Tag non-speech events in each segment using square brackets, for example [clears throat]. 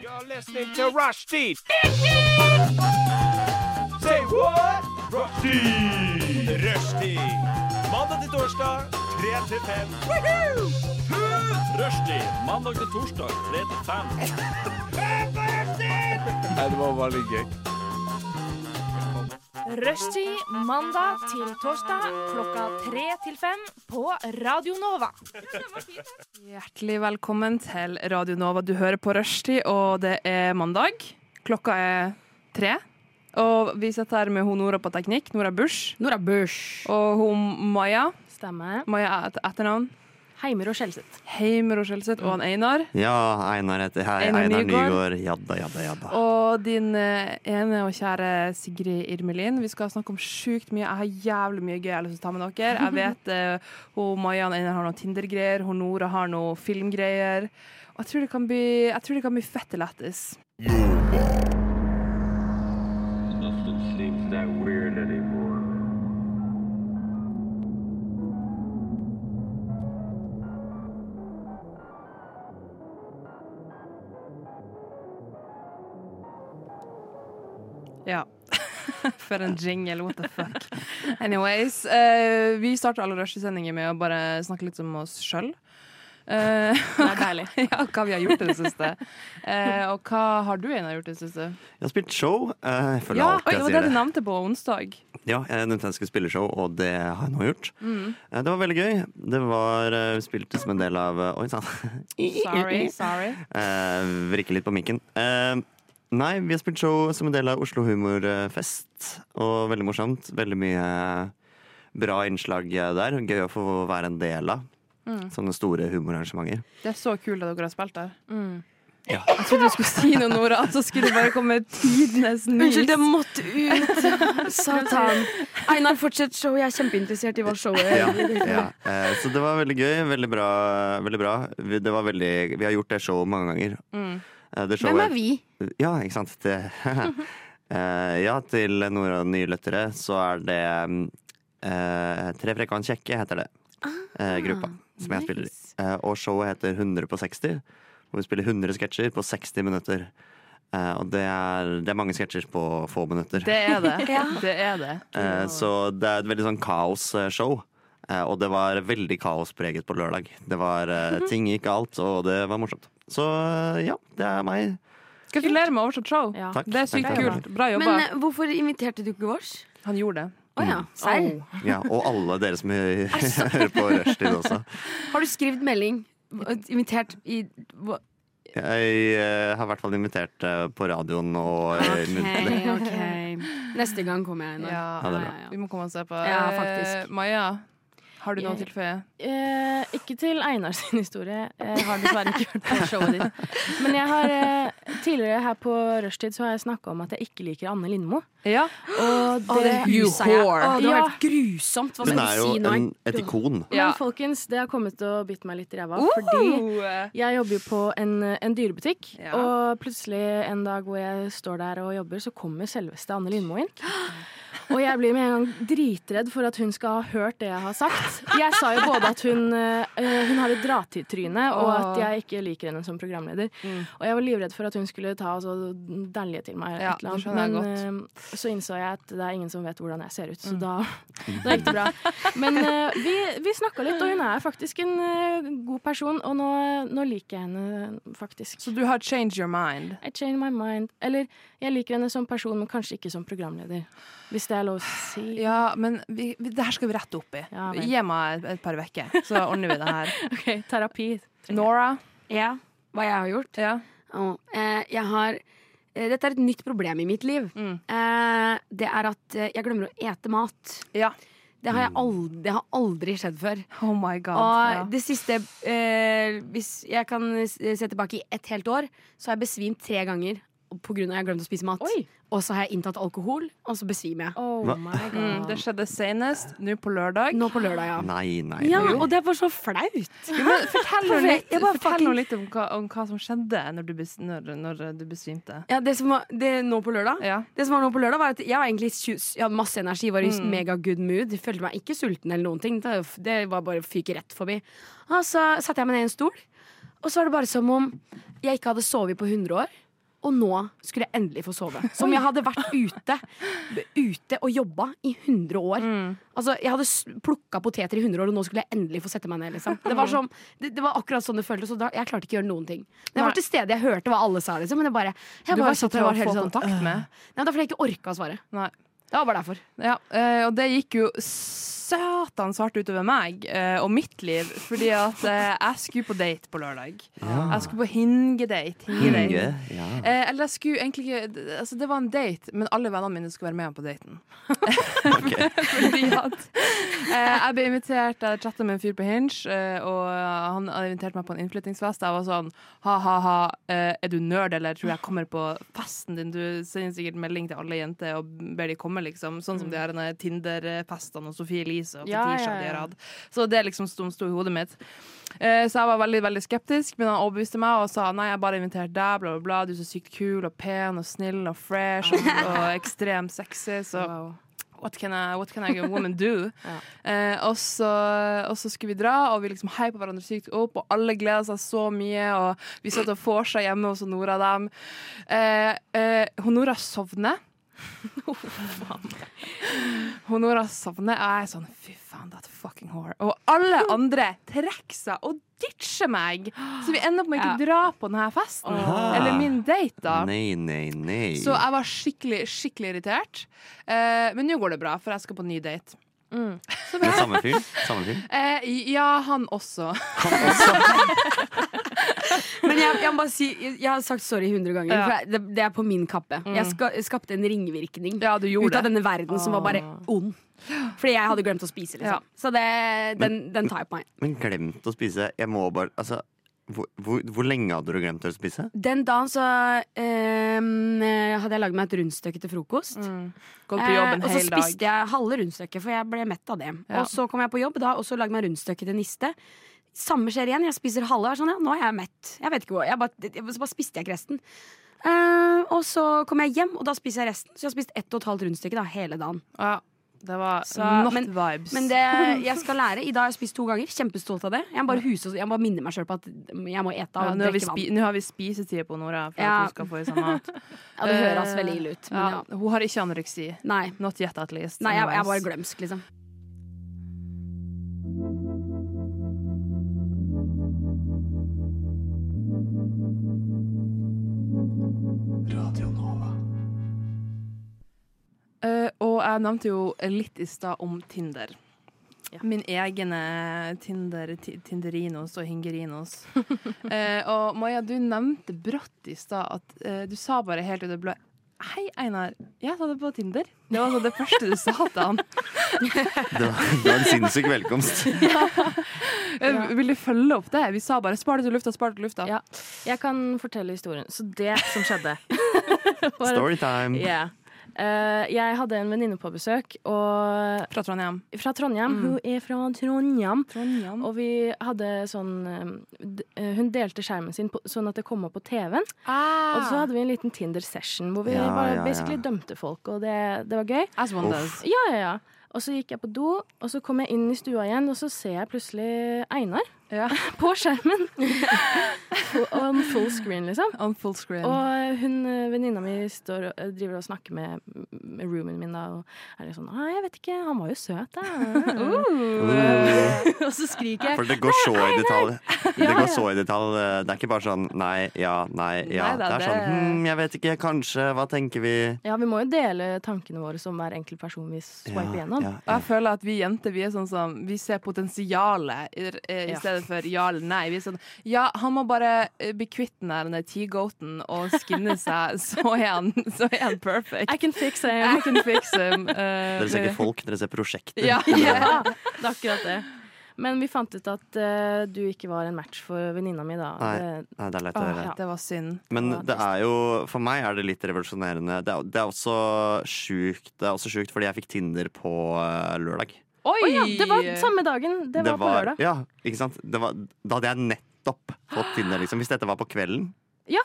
You're listening to Rushdie. Say what? Rushdie. Rushdie. Mandag til torsdag, 3 til 5. Rushdie. Mandag til torsdag, 3 til 5. det var veldig gøy. Rushtid mandag til torsdag klokka tre til fem på Radio Nova. Hjertelig velkommen til Radio Nova. Du hører på Rushtid, og det er mandag. Klokka er tre. Og vi sitter her med hun Nora på teknikk, Nora Bush. Nora Bush. Og hun Maja. Stemmer. Maja er et etternavn. Heimer og Skjelseth. Heimer og Skjelseth og han Einar. Ja, Einar heter her. Einar Einar, Nygård. Nygård. Jadda, jadda, jadda. Og din eh, ene og kjære Sigrid Irmelin. Vi skal snakke om sjukt mye. Jeg har jævlig mye gøy jeg har lyst til å ta med dere. Jeg vet eh, hun Maja og Einar har noen Tinder-greier, hun Nora har noen filmgreier. Og jeg tror det kan bli, jeg tror det kan bli fette lættis. Nothing seems that weird anymore. Ja. [laughs] For en jingle, what the fuck. [laughs] Anyways, eh, vi starter alle rushesendinger med å bare snakke litt om oss sjøl. Det er deilig. [laughs] ja, hva vi har gjort i det siste. Eh, og hva har du, Einar, gjort i det siste? Jeg har spilt show. eh, Jeg føler Ja, oi, alltid det jeg var sier det det. du nevnte på onsdag. Ja, eh, jeg nevnte jeg skulle spille show, og det har jeg nå gjort. Mm. Eh, Det var veldig gøy. Det var eh, Vi spilte som en del av eh, Oi sann. [laughs] Sorry. sorry. [laughs] Eh, Vrikke litt på mikken. Eh, Nei, vi har spilt show som en del av Oslo Humorfest, og veldig morsomt. Veldig mye bra innslag der. Gøy å få være en del av Mm. sånne store humorarrangementer. Det er så kult at dere har spilt der. Mm. Jeg trodde du skulle si [laughs] noe, Nora, og så skulle det bare komme tidenes nys. [laughs] Unnskyld, jeg måtte ut! [laughs] Satan. Einar, fortsett show. Jeg er kjempeinteressert i hva showet [laughs] ja, ja. Eh, Så det var veldig gøy. Veldig bra. Veldig bra. Vi, det var veldig, vi har gjort det showet mange ganger. Eh, Det Mm. Hvem er vi? Ja, ikke sant. Det, [laughs] Eh, ja, til Nora og nye lyttere så er det eh, Tre frekkan kjekke heter det. Ah, eh, gruppa som jeg spiller i. Eh, og showet heter 100 på 60. Hvor vi spiller 100 sketsjer på 60 minutter. Eh, og det er, det er mange sketsjer på få minutter. Det er det. Det er det. Eh, Så det er et veldig sånn kaosshow. Eh, Og det var veldig kaospreget på lørdag. Det var eh, Mhm. Ting gikk galt, og det var morsomt. Så eh, ja, det er meg. Gratulerer med oversatt show. Ja. Takk. Det er sykt Bra jobba. kult. Bra jobba. Men eh, hvorfor inviterte du ikke vårs? Han gjorde det. Å ja. Serr? Ja, og alle dere som [laughs] hø- hører på Rushtid også. Har du skrevet melding? Invitert i hva- Jeg eh, har i hvert fall invitert eh, på radioen og eh, muntlig. Ok, ok. Neste gang kommer jeg, Einar. Ja. Ja, det er Ja, bra. ja, Vi ja. må komme og se på. Ja, faktisk. Eh, Maja, har du noe å Jeg- tilføye? Eh, ikke til Einar sin historie. Jeg har dessverre ikke hørt på showet ditt. [laughs] Men jeg har eh, tidligere her på rushtid så har jeg snakka om at jeg ikke liker Anne Lindmo. Ja. Og Å, det huset jeg. Å, det var Ja. helt grusomt. Hva Hun skal er jeg jo si nå? en, et ikon. Ja. Men folkens, det har kommet til å bite meg litt i ræva. Fordi jeg jobber jo på en, en dyrebutikk. Ja. Og plutselig en dag hvor jeg står der og jobber, så kommer selveste Anne Lindmo inn. Og jeg blir med en gang dritredd for at hun skal ha hørt det jeg har sagt. Jeg sa jo både at hun, eh, hun har et dra-til-tryne, og at jeg ikke liker henne som programleder. Og jeg var livredd for at hun skulle ta og så dælje til meg. Ja, et eller annet. det skjønner jeg Men eh, så innså jeg at det er ingen som vet hvordan jeg ser ut, Mm. så da, [laughs] da gikk det bra. Men eh, vi, vi snakka litt, og hun er faktisk en eh, god person, og nå, nå liker jeg henne faktisk. Så du har changed your mind. I change my mind. Eller jeg liker henne som person, men kanskje ikke som programleder. Hvis det er lov å si. Ja, men vi, vi, det her skal vi rette opp i. Ja, vel. Gi meg et, et par uker, så ordner vi det her. Ok, terapi. [laughs] Nora? Ja, hva jeg har gjort? Ja. Å, eh, jeg har eh, Dette er et nytt problem i mitt liv. Mm. Eh, det er at eh, jeg glemmer å ete mat. Ja. Det har, jeg aldri, det har aldri skjedd før. Oh my god. Og Ja. det siste eh, Hvis jeg kan s- eh, se tilbake i et helt år, så har jeg besvimt tre ganger pga. at jeg har glemt å spise mat. Oi! Og så har jeg inntatt alkohol, og så besvimer jeg. Oh Hva? my god. Mm, det skjedde senest nå på lørdag. Nå på lørdag, ja. Nei, nei. Ja, nei. og det er bare så flaut. Jo, men fortell nå Hvorfor? litt, Jeg bare fortell fucking- nå litt om, hva, om hva som skjedde når du, bes, når, når du besvimte. Ja, det som var det, nå på lørdag Ja. Mm. Det som var nå på lørdag var at Jeg var egentlig tju- jeg hadde masse energi, var i mega good mood. Følte meg ikke sulten eller noen ting. Det, det var bare fyke rett forbi. Og så satte jeg meg ned i en stol, og så var det bare som om jeg ikke hadde sovet på 100 år. Og nå skulle jeg endelig få [laughs] sove. Som jeg hadde vært ute Ute og jobba i 100 år. Mm. Altså, Jeg hadde plukka poteter i 100 år, og nå skulle jeg endelig få sette meg ned. liksom Det [laughs] var, som, det, det var akkurat sånn det føltes. Og da, jeg klarte ikke å gjøre noen ting. Men jeg var til stede, jeg hørte hva alle sa, liksom. Men jeg bare, jeg Du bare var «Øh, ikke satt der til og å var helt få sånn, kontakt med. Nei, det er fordi jeg ikke orka å svare. Nei. Det var bare derfor. Ja, eh, og det gikk jo satans hardt utover meg eh, og mitt liv, fordi at eh, jeg skulle på date på lørdag. Jeg skulle på hingedate. hingedate. Inge, ja. Eh, eller jeg skulle egentlig ikke d- Altså, det var en date, men alle vennene mine skulle være med på [laughs] daten. [laughs] Fordi at eh, Jeg ble invitert Jeg chatta med en fyr på Hinge, eh, og han hadde invitert meg på en innflyttingsfest. Jeg var sånn ha-ha-ha, eh, er du nerd, eller tror jeg kommer på festen din? Du sender sikkert melding til alle jenter og ber de komme, liksom. Sånn som de her denne Tinder-festene og Sophie Elise og Mm. Ja, Fetisha ja, de ja. har hatt. Så det er liksom som sto i hodet mitt. Eh, Så jeg var veldig veldig skeptisk, men han overbeviste meg og sa nei, jeg bare inviterte deg, bla, bla, bla. Du er så sykt kul og pen og snill og fresh og, og ekstremt sexy, så what can I, what can I a woman do? eh, og, så, og så skulle vi dra, og vi liksom hypa hverandre sykt opp, og alle gleda seg så mye, og vi satt og vorsa hjemme hos Nora og dem. Eh, eh, Honora sovner. Honora sovner, og jeg er sånn fy faen, that fucking whore. Og alle andre trekker seg og ditcher meg, så vi ender opp med å ikke dra på denne festen. Åh. Eller min date, da. Nei, nei, nei. Så jeg var skikkelig, skikkelig irritert. Eh, men nå går det bra, for jeg skal på ny date. Med samme fyr? Samme fyr? Eh, ja, han også. Men jeg, jeg må bare si Jeg jeg har sagt sorry 100 ganger. Ja. For jeg- det, det er på min kappe. Jeg ska, skapte en ringvirkning Ja, du ut gjorde av det. denne verden som var bare ond. Fordi jeg hadde glemt å spise, Ja. liksom. Så det, den, den tar jeg på meg. Men glemt å spise. Jeg må bare Altså, hvor, hvor, hvor lenge hadde du glemt å spise? Den dagen så ehm, hadde jeg lagd meg et rundstykke til frokost. Gått på jobb Eh, en og så hel dag. spiste jeg halve rundstykket, for jeg ble mett av det. Ja. Og så kom jeg på jobb da, og så lagde jeg meg rundstykket til niste. Samme skjer igjen. Jeg spiser halve. og er Sånn, ja, nå er jeg mett. Jeg vet ikke hvor. Jeg bare, jeg, så bare spiste jeg ikke resten. Eh, og så kom jeg hjem, og da spiser jeg resten. Så jeg har spist ett og et halvt rundstykke da, hele dagen. Ja, det var Så- not men- vibes. Men det [laughs] jeg skal lære I dag har jeg spist to ganger. Kjempestolt av det. Jeg må bare, huse, jeg må bare minne meg sjøl på at jeg må ete ja, av nå, har vi drikke spi, vann. nå har vi spisetid på Nora for Ja. at hun skal få i seg [laughs] mat. Ja, det Eh, høres veldig ille ut. Men Ja, ja. hun har ikke anoreksi. Nei. Not yet, at least. Nei, jeg, jeg er bare Anyways. glemsk, [laughs] liksom. Eh, og jeg nevnte jo litt i stad om Tinder. Min egen eh, Tinder, ti- Tinderinos og Hingerinos. [laughs] Eh, og Maja, du nevnte brått i stad at eh, du sa bare helt ut av det blå Hei, Einar. Jeg sa det på Tinder. Det var sånn det første du sa til [laughs] han. Det var, det var en sinnssyk velkomst. [laughs] Eh, Vil du følge opp det? Vi sa bare 'spar det til lufta', spar det til lufta. Ja. Jeg kan fortelle historien. Så det som [laughs] skjedde var- [laughs] Storytime. Yeah. Eh, jeg hadde en venninne på besøk og, Fra Trondheim. fra Trondheim. Mm. Hun er fra Trondheim. Trondheim. Og vi hadde sånn eh, d- eh, Hun delte skjermen sin på, sånn at det kom opp på TV-en. Og Ah. så hadde vi en liten Tinder-session hvor vi Ah. Ja, bare ja, ja. basically dømte folk, og det, det var gøy. As one does. Ja, ja, ja. Og så gikk jeg på do, og så kom jeg inn i stua igjen, og så ser jeg plutselig Einar Ja. [laughs] på skjermen. [laughs] Full- On full screen, liksom. On full screen. Og hun eh, venninna mi står, og- eh, driver og snakker med, med roomien min da, og er litt sånn Nei, jeg vet ikke, han var jo søt, da. [laughs] og så skriker jeg. For det går så i detalj. Det går så i detalj. Det er ikke bare sånn nei, ja, nei, ja. Nei Det da, er sånn det- hm, jeg vet ikke, kanskje, hva tenker vi? Ja, vi må jo dele tankene våre som hver enkelt person vi swiper gjennom. ja, Og jeg føler at vi jenter vi er sånn som Vi ser potensialet i, eh, i stedet for ja eller nei. Vi er sånn Ja, han må bare eh, bli kvitt den der den der T-goaten og skinne seg, [laughs] så er han, så er han perfect. I can fix I it. can fix him. eh, Dere ser ikke folk, dere ser prosjekter. [laughs] [laughs] Ja. [laughs] ja, det er akkurat det. Men vi fant ut at eh, du ikke var en match for venninna mi, da. Nei. Det- Nei, det er leit å Åh, høre. Det var synd. Men Ja, det er jo, for meg er det litt revolusjonerende. Det er, det er også sjukt. Det er også sjukt fordi jeg fikk Tinder på eh, lørdag. Oi! Å ja, det var samme dagen. Det var, på lørdag. Ja, ikke sant? Det var, da hadde jeg nettopp fått Tinder, liksom. Hvis dette var på kvelden. Ja,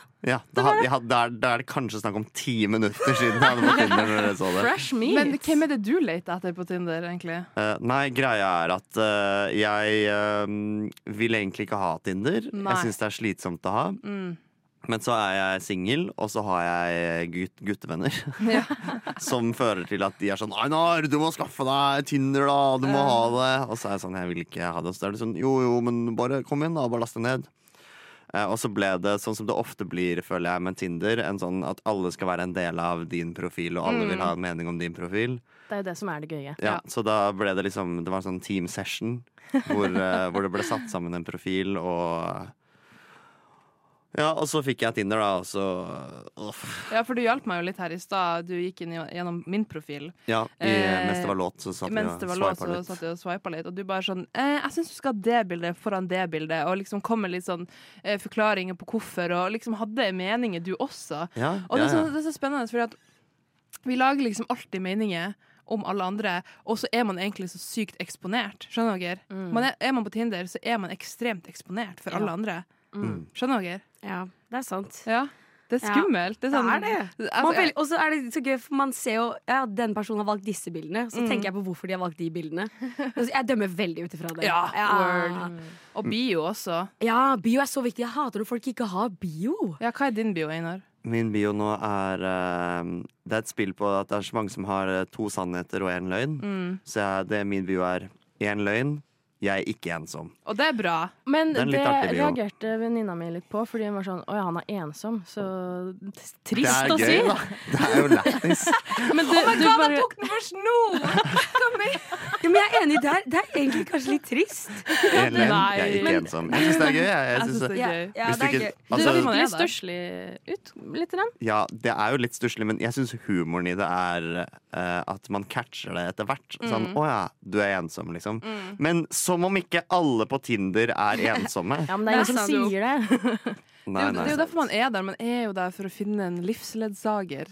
da, hadde, jeg hadde, da er- da er det kanskje snakk om ti minutter siden jeg hadde fått Tinder. Når jeg så det. Fresh meat. Men hvem er det du leter etter på Tinder, egentlig? Eh, nei, greia er at eh, jeg eh, vil egentlig ikke ha Tinder. Nei. Mm. Jeg syns det er slitsomt å ha. Men så er jeg singel, og så har jeg gut guttevenner. [laughs] Ja. [laughs] som fører til at de er sånn Einar, du må skaffe deg Tinder, da! Du må ha det! Og så er jeg sånn, jeg vil ikke ha det. Og så er det sånn, jo jo, men bare kom inn, da. Bare last det ned. Eh, Og så ble det sånn som det ofte blir, føler jeg, med Tinder. En sånn at alle skal være en del av din profil, Mm. og alle vil ha en mening om din profil. Det er jo det som er det gøye. Ja, Så da ble det liksom Det var en sånn team session [laughs] hvor, eh, hvor det ble satt sammen en profil, og Ja, og så fikk jeg Tinder, da, og så uff. Ja, for du hjalp meg jo litt her i stad. Du gikk inn i- gjennom min profil. Ja, i, Eh, mens det var låt, så satt vi Mens og det var låt, sveipa så litt. satt jeg og swipa litt, og du bare sånn eh, 'Jeg syns du skal ha det bildet foran det bildet', og liksom kom med litt sånn eh, forklaringer på hvorfor, og liksom hadde meninger, du også. Ja, Og det ja, er, sånn- ja. så, det er så spennende, fordi at vi lager liksom alltid meninger om alle andre, og så er man egentlig så sykt eksponert. Skjønner dere? Man er, er man på Tinder, så er man ekstremt eksponert for alle andre. Mm. Skjønner dere? Ja, det er sant. Mm. Ja. Det er Ja. skummelt. Det er sånn, Det er Altså, Man vel- jeg- Og så er det så gøy, for man ser jo ja, den personen har valgt disse Mm. bildene. Så tenker jeg på hvorfor de har valgt de bildene. Altså, Jeg dømmer veldig ut ifra det. Ja, ja. og bio også. ja, bio er så viktig. Jeg hater når folk ikke har bio. Ja, hva er din bio, Einar? Min bio nå er eh, Det er et spill på at det er så mange som har eh, to sannheter og én løgn. Mm. Så jeg, det min bio er én løgn, jeg er ikke ensom. Og det er bra. Men Det er det, en litt artig video. reagerte venninna mi litt på, fordi hun var sånn Å ja, han er ensom. Så Det trist er å si. gøy, da. Det er [laughs] jo lættis. Men du, du bare den først [laughs] nå! Ja, men jeg er enig, det er, det er egentlig kanskje litt trist. Én løgn, Nei. jeg er ikke Men- ensom. Jeg syns det er gøy. Jeg, jeg Jeg synes syns det det. er Ja, gøy. ja Hvis du det er ikke- gøy. Du Altså- virker litt Ja, da. stusslig ut, lite grann. Ja, det er jo litt stusslig, men jeg syns humoren i det er eh, at man catcher det etter hvert. Sånn Mm. 'Å ja, du er ensom', liksom. Men som om ikke alle på Tinder [laughs] er ensomme. Ja, men det er ingen Der som sa du sier det. Det Nei, er jo- det er nei. jo derfor man er der. Man er jo der for å finne en livsledsager.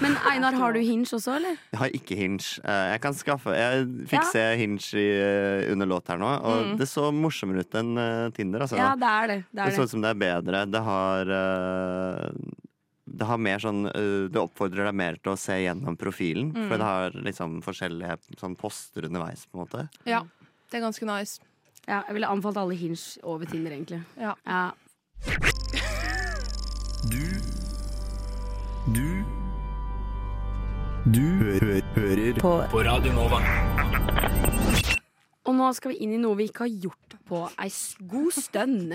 Men Einar, har du hinge også, eller? Jeg har ikke Hinge. Eh, Jeg kan skaffe Jeg fikk Ja. Mm. se Hinge i, eh, under låt her nå, og det så morsommere ut enn eh, Tinder. Altså. Ja, det er det. det, det så er det. ut som det er bedre. Det har eh, Det har mer sånn eh, Det oppfordrer deg mer til å se gjennom profilen, Mm. for det har liksom forskjellige sånn poster underveis, på en måte. Ja, det er ganske nice. Ja, jeg ville anbefalt alle hinge over Tinder, egentlig. Ja. Ja. Du Du Du hø hø hører på. på Radio Nova. Og nå skal vi inn i noe vi ikke har gjort på ei s- god stund.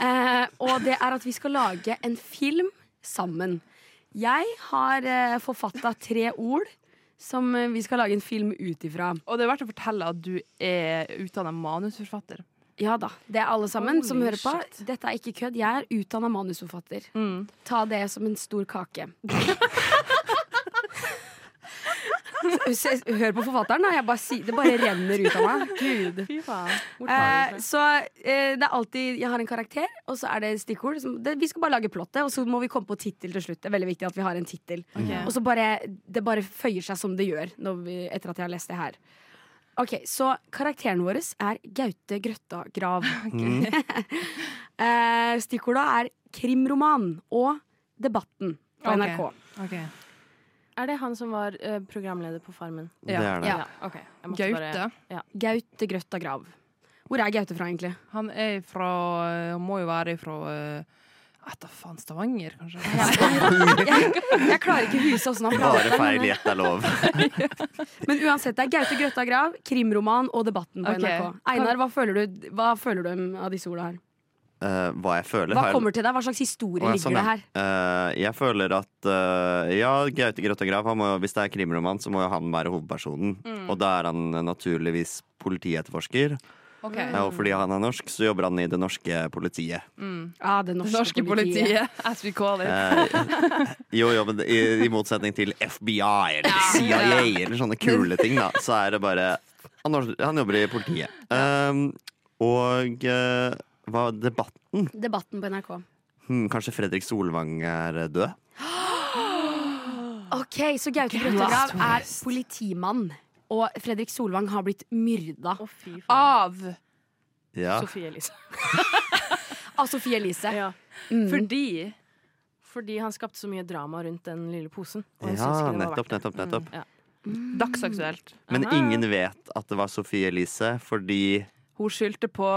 Eh, og det er at vi skal lage en film sammen. Jeg har eh, forfatta tre ord som eh, vi skal lage en film ut ifra. Og det er verdt å fortelle at du er utdanna manusforfatter. Ja da, det er alle sammen som Holy hører på. Dette er ikke kødd. Jeg er utdanna manusforfatter. Ta det som en stor [laughs] kake. Se- Hør på forfatteren, da. Jeg bare sier, det bare renner ut av meg. Gud. Fy faen. Eh, så eh, det er alltid Jeg har en karakter, og så er det stikkord. som- det, vi skal bare lage plottet, og så må vi komme på tittel til slutt. Det er veldig viktig at vi har en tittel. Mm. Og så bare Det bare føyer seg som det gjør når vi, etter at jeg har lest det her. Ok, Så karakteren vår er Gaute Grøtta [laughs] Grav. [laughs] eh, Stikkorda er krimroman og Debatten på Ok. NRK. Er det han som var eh, programleder på Farmen? Ja. Det er det. Ja. ok. Jeg måtte bare- Gaute. Gaute Grøtta Grav. Hvor er Gaute fra, [laughs] egentlig? Han er fra Han må jo være fra Vet da faen, Stavanger, kanskje? Jeg, jeg klarer ikke å huske åssen han prater. Bare feil gjett er lov. [laughs] Men uansett, det er Gaute Grøtta Grav, krimroman og Debatten på Ok. NRK. Einar, hva føler, du, hva føler du om- av disse ordene her? Eh, hva jeg føler Hva har- kommer til deg? Hva slags historie Å, ja, ligger sånn, det ja. her? Eh, jeg føler at eh, Ja, Gaute Grøtta Grav, han må, hvis det er krimroman, så må jo han være hovedpersonen. Mm. Og da er han eh, naturligvis politietterforsker. Ok. Eh, Og fordi han er norsk, så jobber han i det norske politiet. Ja, det norske, Norske politiet. politiet, [laughs] as we call it. Eh, jo, jo, men i, i motsetning til FBI eller CIA eller sånne kule ting, da, så er det bare Han, har- han jobber i politiet. Um, og eh, hva debatten? Debatten på NRK. Hm, kanskje Fredrik Solvang er død? Ok, Så Gaute Grøtta Grav er politimann. Og Fredrik Solvang har blitt myrda Å, fy faen. Av Ja. Sofie Elise. av Sofie Elise. [laughs] Ja. Mm. Fordi Fordi han skapte så mye drama rundt den lille posen. Og jeg Ja, synes ikke det var verdt nettopp, det. nettopp, nettopp. Ja. dagsaktuelt. Men Aha. ingen vet at det var Sofie Elise, fordi Hun skyldte på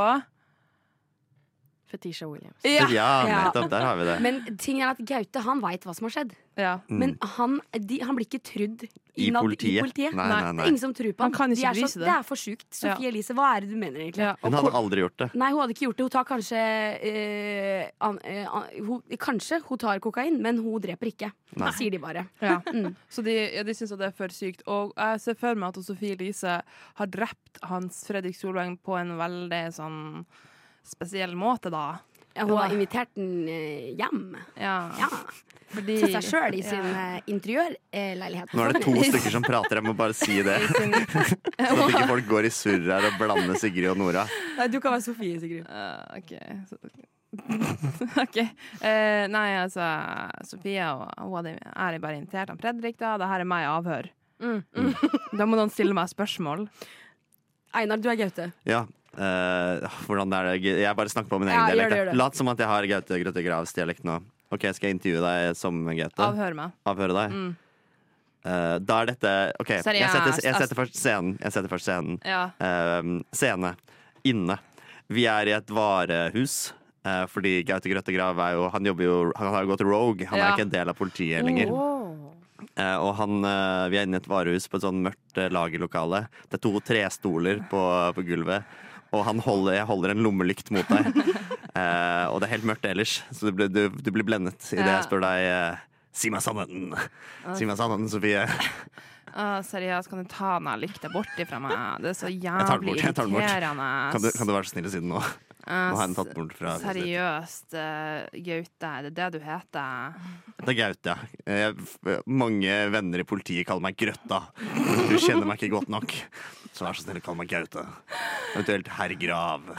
Fetisha Williams. Ja, Ja. nettopp. Der har vi det. Men ting er at Gaute han veit hva som har skjedd. ja. Men han, de, han blir ikke trudd Mm. I innad politiet. i politiet. Nei, nei, Det nei. er ingen som tror på Han ham. kan ikke de er bevise sånn, det. det er for sjukt. Sofie Elise, hva er det du mener egentlig? Ja. Hun hadde aldri gjort det. Nei, hun hadde ikke gjort det. Hun tar kanskje eh, an, eh, an, hun, Kanskje hun tar kokain, men hun dreper ikke. Nei. Sier de bare. [laughs] Ja. Så de, ja, de syns at det er for sykt. Og jeg ser for meg at hun Sofie Elise har drept Hans Fredrik Solvang på en veldig sånn spesiell måte, da. Ja, Hun har invitert den eh, hjem. Ja. Ja. Fordi, Til seg sjøl i [laughs] sin Ja. eh, interiørleilighet. Nå er det to stykker som prater, jeg må bare si det. [laughs] sin, Sånn at ikke folk går i surr her og blander Sigrid og Nora. Nei, du kan være Sofie, Sigrid. Eh, OK. Så, [laughs] OK. Eh, nei, altså, Sofie og hun hadde, er bare invitert av Fredrik, da. Det her er meg i avhør. Mm. Da må noen stille meg spørsmål. Einar, du er Gaute. Ja. eh, [laughs] hvordan er det Jeg bare snakker på min Ja, egen gjør det, gjør dialekt. det. Lat som at jeg har Gaute Grøtte Gravs-dialekt nå. OK, skal jeg intervjue deg som Gaute? Avhør meg. Avhøre deg? Mm. Eh, da er dette OK, jeg setter, Seriøst, jeg ass. setter først scenen. Jeg setter først scenen. Ja. Eh, scene. Inne. Vi er i et varehus. eh, fordi Gaute Grøtte Grav er jo Han jobber jo Han har jo gått rogue. Han er Ja. ikke en del av politiet lenger. Eh, og han, eh, vi er inne i et varehus på et sånn mørkt eh, lagerlokale. Det er to trestoler på, på gulvet. Og han holder, jeg holder en lommelykt mot [laughs] deg. Eh, og det er helt mørkt ellers, så du, blir- du, du blir blendet idet Ja. jeg spør deg eh, Si meg sannheten! Si meg sannheten, Sofie. Å, seriøst, kan du ta den her lykta bort ifra meg? Det er så tar den jævlig bort, jeg tar den bort. irriterende. Kan du, kan du være så snill å si det nå? Nå Eh, har jeg den tatt bort fra huset ditt. Seriøst, eh, Gaute. Er det det du heter? Det er Gaute, ja. Eh, f- mange venner i politiet kaller meg Grøtta. Du kjenner meg ikke godt nok, så vær så snill å kalle meg Gaute. Eventuelt herr Grav.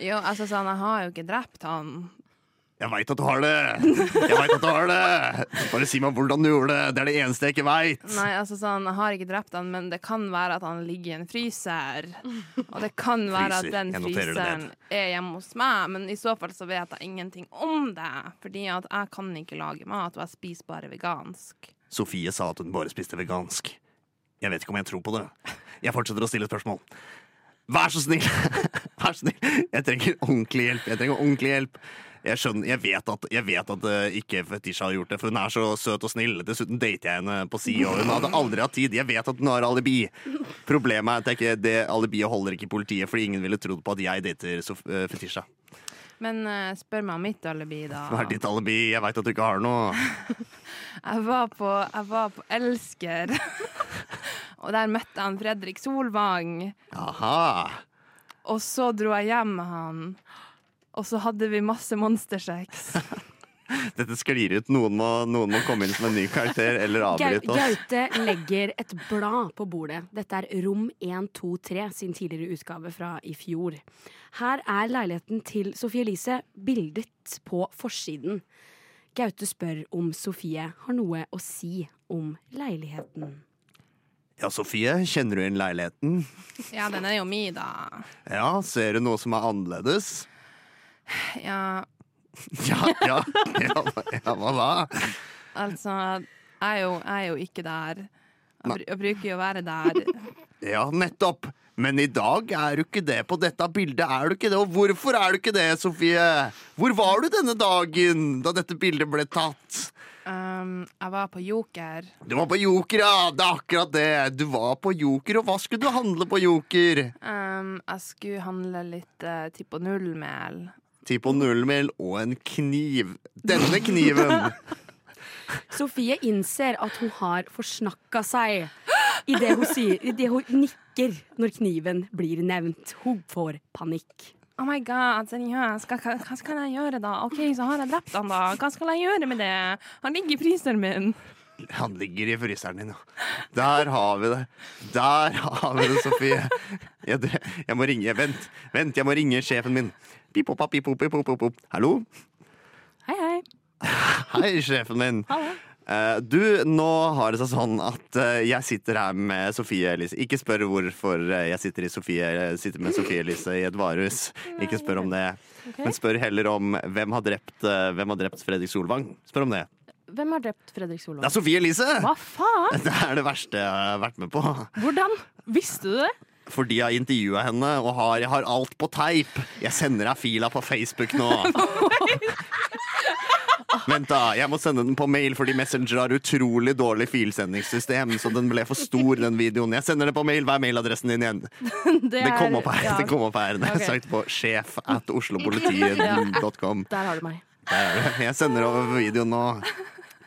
Jo, altså sånn, jeg har jo ikke drept han. Jeg veit at du har det! Jeg vet at du har det! Bare si meg hvordan du gjorde det! Det er det eneste jeg ikke veit! Nei, altså sånn, jeg har ikke drept han, men det kan være at han ligger i en fryser. Og det [laughs] kan være at Fryser. den Jeg noterer det fryseren ned. er hjemme hos meg, men i så fall så vet jeg ingenting om det. Fordi at jeg kan ikke lage mat, og jeg spiser bare vegansk. Sofie sa at hun bare spiste vegansk. Jeg vet ikke om jeg tror på det. Jeg fortsetter å stille spørsmål. Vær så snill! [laughs] Vær så snill! Jeg trenger ordentlig hjelp. Jeg trenger ordentlig hjelp. Jeg skjønner, jeg vet at, jeg vet at eh, ikke Fetisha har gjort det, for hun er så søt og snill. Dessuten dater jeg henne på si, og hun hadde aldri hatt tid. Jeg vet at hun har alibi. Problemet er at jeg ikke, det alibiet holder ikke i politiet, fordi ingen ville trodd på at jeg dater Sof- eh, Fetisha. Men eh, spør meg om mitt alibi, da. Hva er ditt alibi? Jeg veit at du ikke har noe. Jeg var på, jeg var på Elsker, [laughs] og der møtte jeg han Fredrik Solvang. Aha. Og så dro jeg hjem med han, og så hadde vi masse monstersex. Dette sklir ut. Noen må, noen må komme inn som en ny karakter eller Gau- avbryte oss. Gaute legger et blad på bordet. Dette er Rom 123 sin tidligere utgave fra i fjor. Her er leiligheten til Sofie Elise bildet på forsiden. Gaute spør om Sofie har noe å si om leiligheten. Ja, Sofie, kjenner du inn leiligheten? [laughs] Ja, den er jo mi, da. Ja, ser du noe som er annerledes? Ja, Ja, ja, [laughs] ja, hva- ja hva da? altså, jeg er jo, jeg er jo ikke der. Jeg, br jeg bruker jo å være der. Ja, nettopp. Men i dag er du ikke det. På dette bildet er du ikke det. Og hvorfor er du ikke det, Sofie? Hvor var du denne dagen da dette bildet ble tatt? Um, jeg var på Joker. Du var på Joker, ja! Det er akkurat det. Du var på Joker, og hva skulle du handle på Joker? Um, jeg skulle handle litt uh, Tipo Null-mel. Ti på nullmil og en kniv. Denne kniven! Sofie innser at hun har forsnakka seg i det hun, sier, i det hun nikker når kniven blir nevnt. Hun får panikk. Oh my god, seriøst, hva, hva, hva skal jeg gjøre da? OK, så har jeg drept han da. Hva skal jeg gjøre med det? Han ligger i fryseren min. Han ligger i fryseren din, ja. Der har vi det. Der har vi det, Sofie. Jeg, dre- jeg må ringe. Vent, vent, jeg må ringe sjefen min. Pip, pop, pip, pop, pip, pop, pop. Hallo? Hei, hei. Hei, sjefen min. Eh, du, nå har det seg sånn at eh, jeg sitter her med Sofie Elise. Ikke spør hvorfor eh, jeg sitter, i Sofie, sitter med Sofie Elise i et varehus. Ikke spør om det. Men spør heller om hvem har drept, eh, hvem har drept Fredrik Solvang. Spør om det. Hvem har drept Fredrik Solvang? Det er Sofie Elise! Hva faen? Det er det verste jeg har vært med på. Hvordan? Visste du det? fordi jeg har intervjua henne og har, jeg har alt på teip. Jeg sender deg fila på Facebook nå. Vent, da. Jeg må sende den på mail fordi Messenger har utrolig dårlig filsendingssystem. Så den ble for stor, den videoen. Jeg sender det på mail. Hva er mailadressen din igjen? Det Den kom er- opp her. ja. Den kom opp her. Den er Ok. sagt på sjef at oslopolitiet.com. Der har du meg. Der er det. Jeg sender over videoen nå.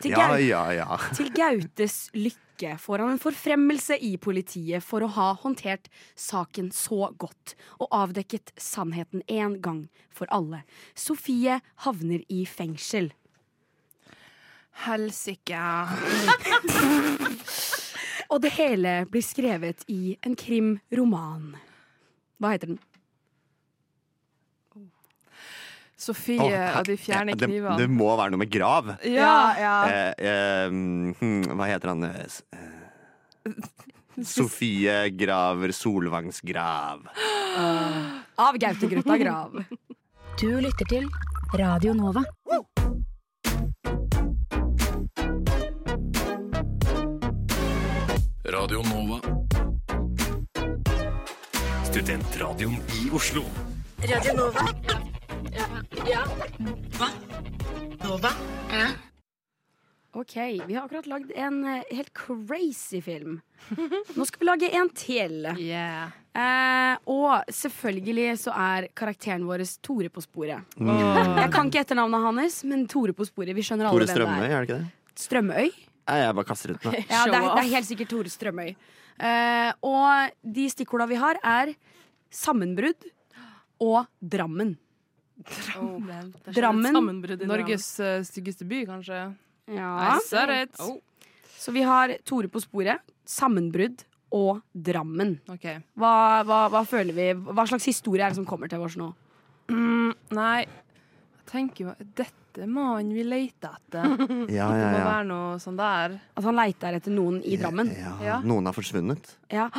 Til Ja, Gaute. ja, ja. Til Gautes lykke får han en forfremmelse i politiet for å ha håndtert saken så godt og avdekket sannheten en gang for alle. Sofie havner i fengsel. Helsike. Og det hele blir skrevet i en krimroman. Hva heter den? Sofie Åh, og de fjerne det, det knivene. må være noe med grav. eh, Ja, Eh, eh, hm, hva heter han? Eh, s- eh, Sofie Graver Solvangs grav. Av Gaute Grøtta Grav. Du lytter til Radio Nova. Radio Nova. Studentradioen i Oslo. Ok, vi har akkurat lagd en eh, helt crazy film. Nå skal vi lage en til. Yeah. Eh, og selvfølgelig så er karakteren vår Tore på sporet. Mm. Åh. Jeg kan ikke etternavnet hans, men Tore på sporet. Vi skjønner alle Tore hvem Strømøy, det er er. det ikke det? Strømøy? Nei, jeg bare kaster ut den. da. Ja, det er, Show det er off. helt sikkert Tore Strømøy. Eh, og de stikkorda vi har, er sammenbrudd og Drammen. Oh. Drammen. Norges eh, styggeste by, kanskje. Ja. Sorry. Oh. Så vi har Tore på sporet, sammenbrudd og Drammen. OK. Hva, hva, hva føler vi? Hva slags historie er det som kommer til oss nå? Nei, jeg tenker jo Dette er mannen vi leter etter. [laughs] Det Ja, ja, må ja. være noe sånn der. At han leiter etter noen i Drammen. ja. Ja. Noen har forsvunnet. Ja.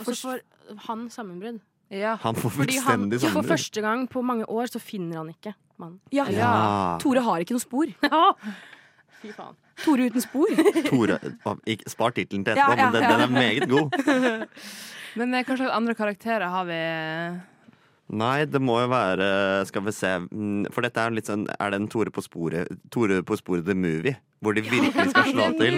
Og så får han sammenbrudd. Ja. Han får Fordi han, fullstendig sånn for sammenbrudd. første gang på mange år så finner han ikke mannen. Ja. Ja. Tore har ikke noe spor. [laughs] Fy faen. Tore uten spor. Tore å, ikke- Spar tittelen til Ja, etterpå, ja, men den, ja. den er meget god. Men eh, hva slags andre karakterer har vi? eh, Nei, det må jo være Skal vi se. mm, For dette er jo litt sånn Er det en Tore på sporet Tore på sporet the movie? Hvor de virkelig skal slå til?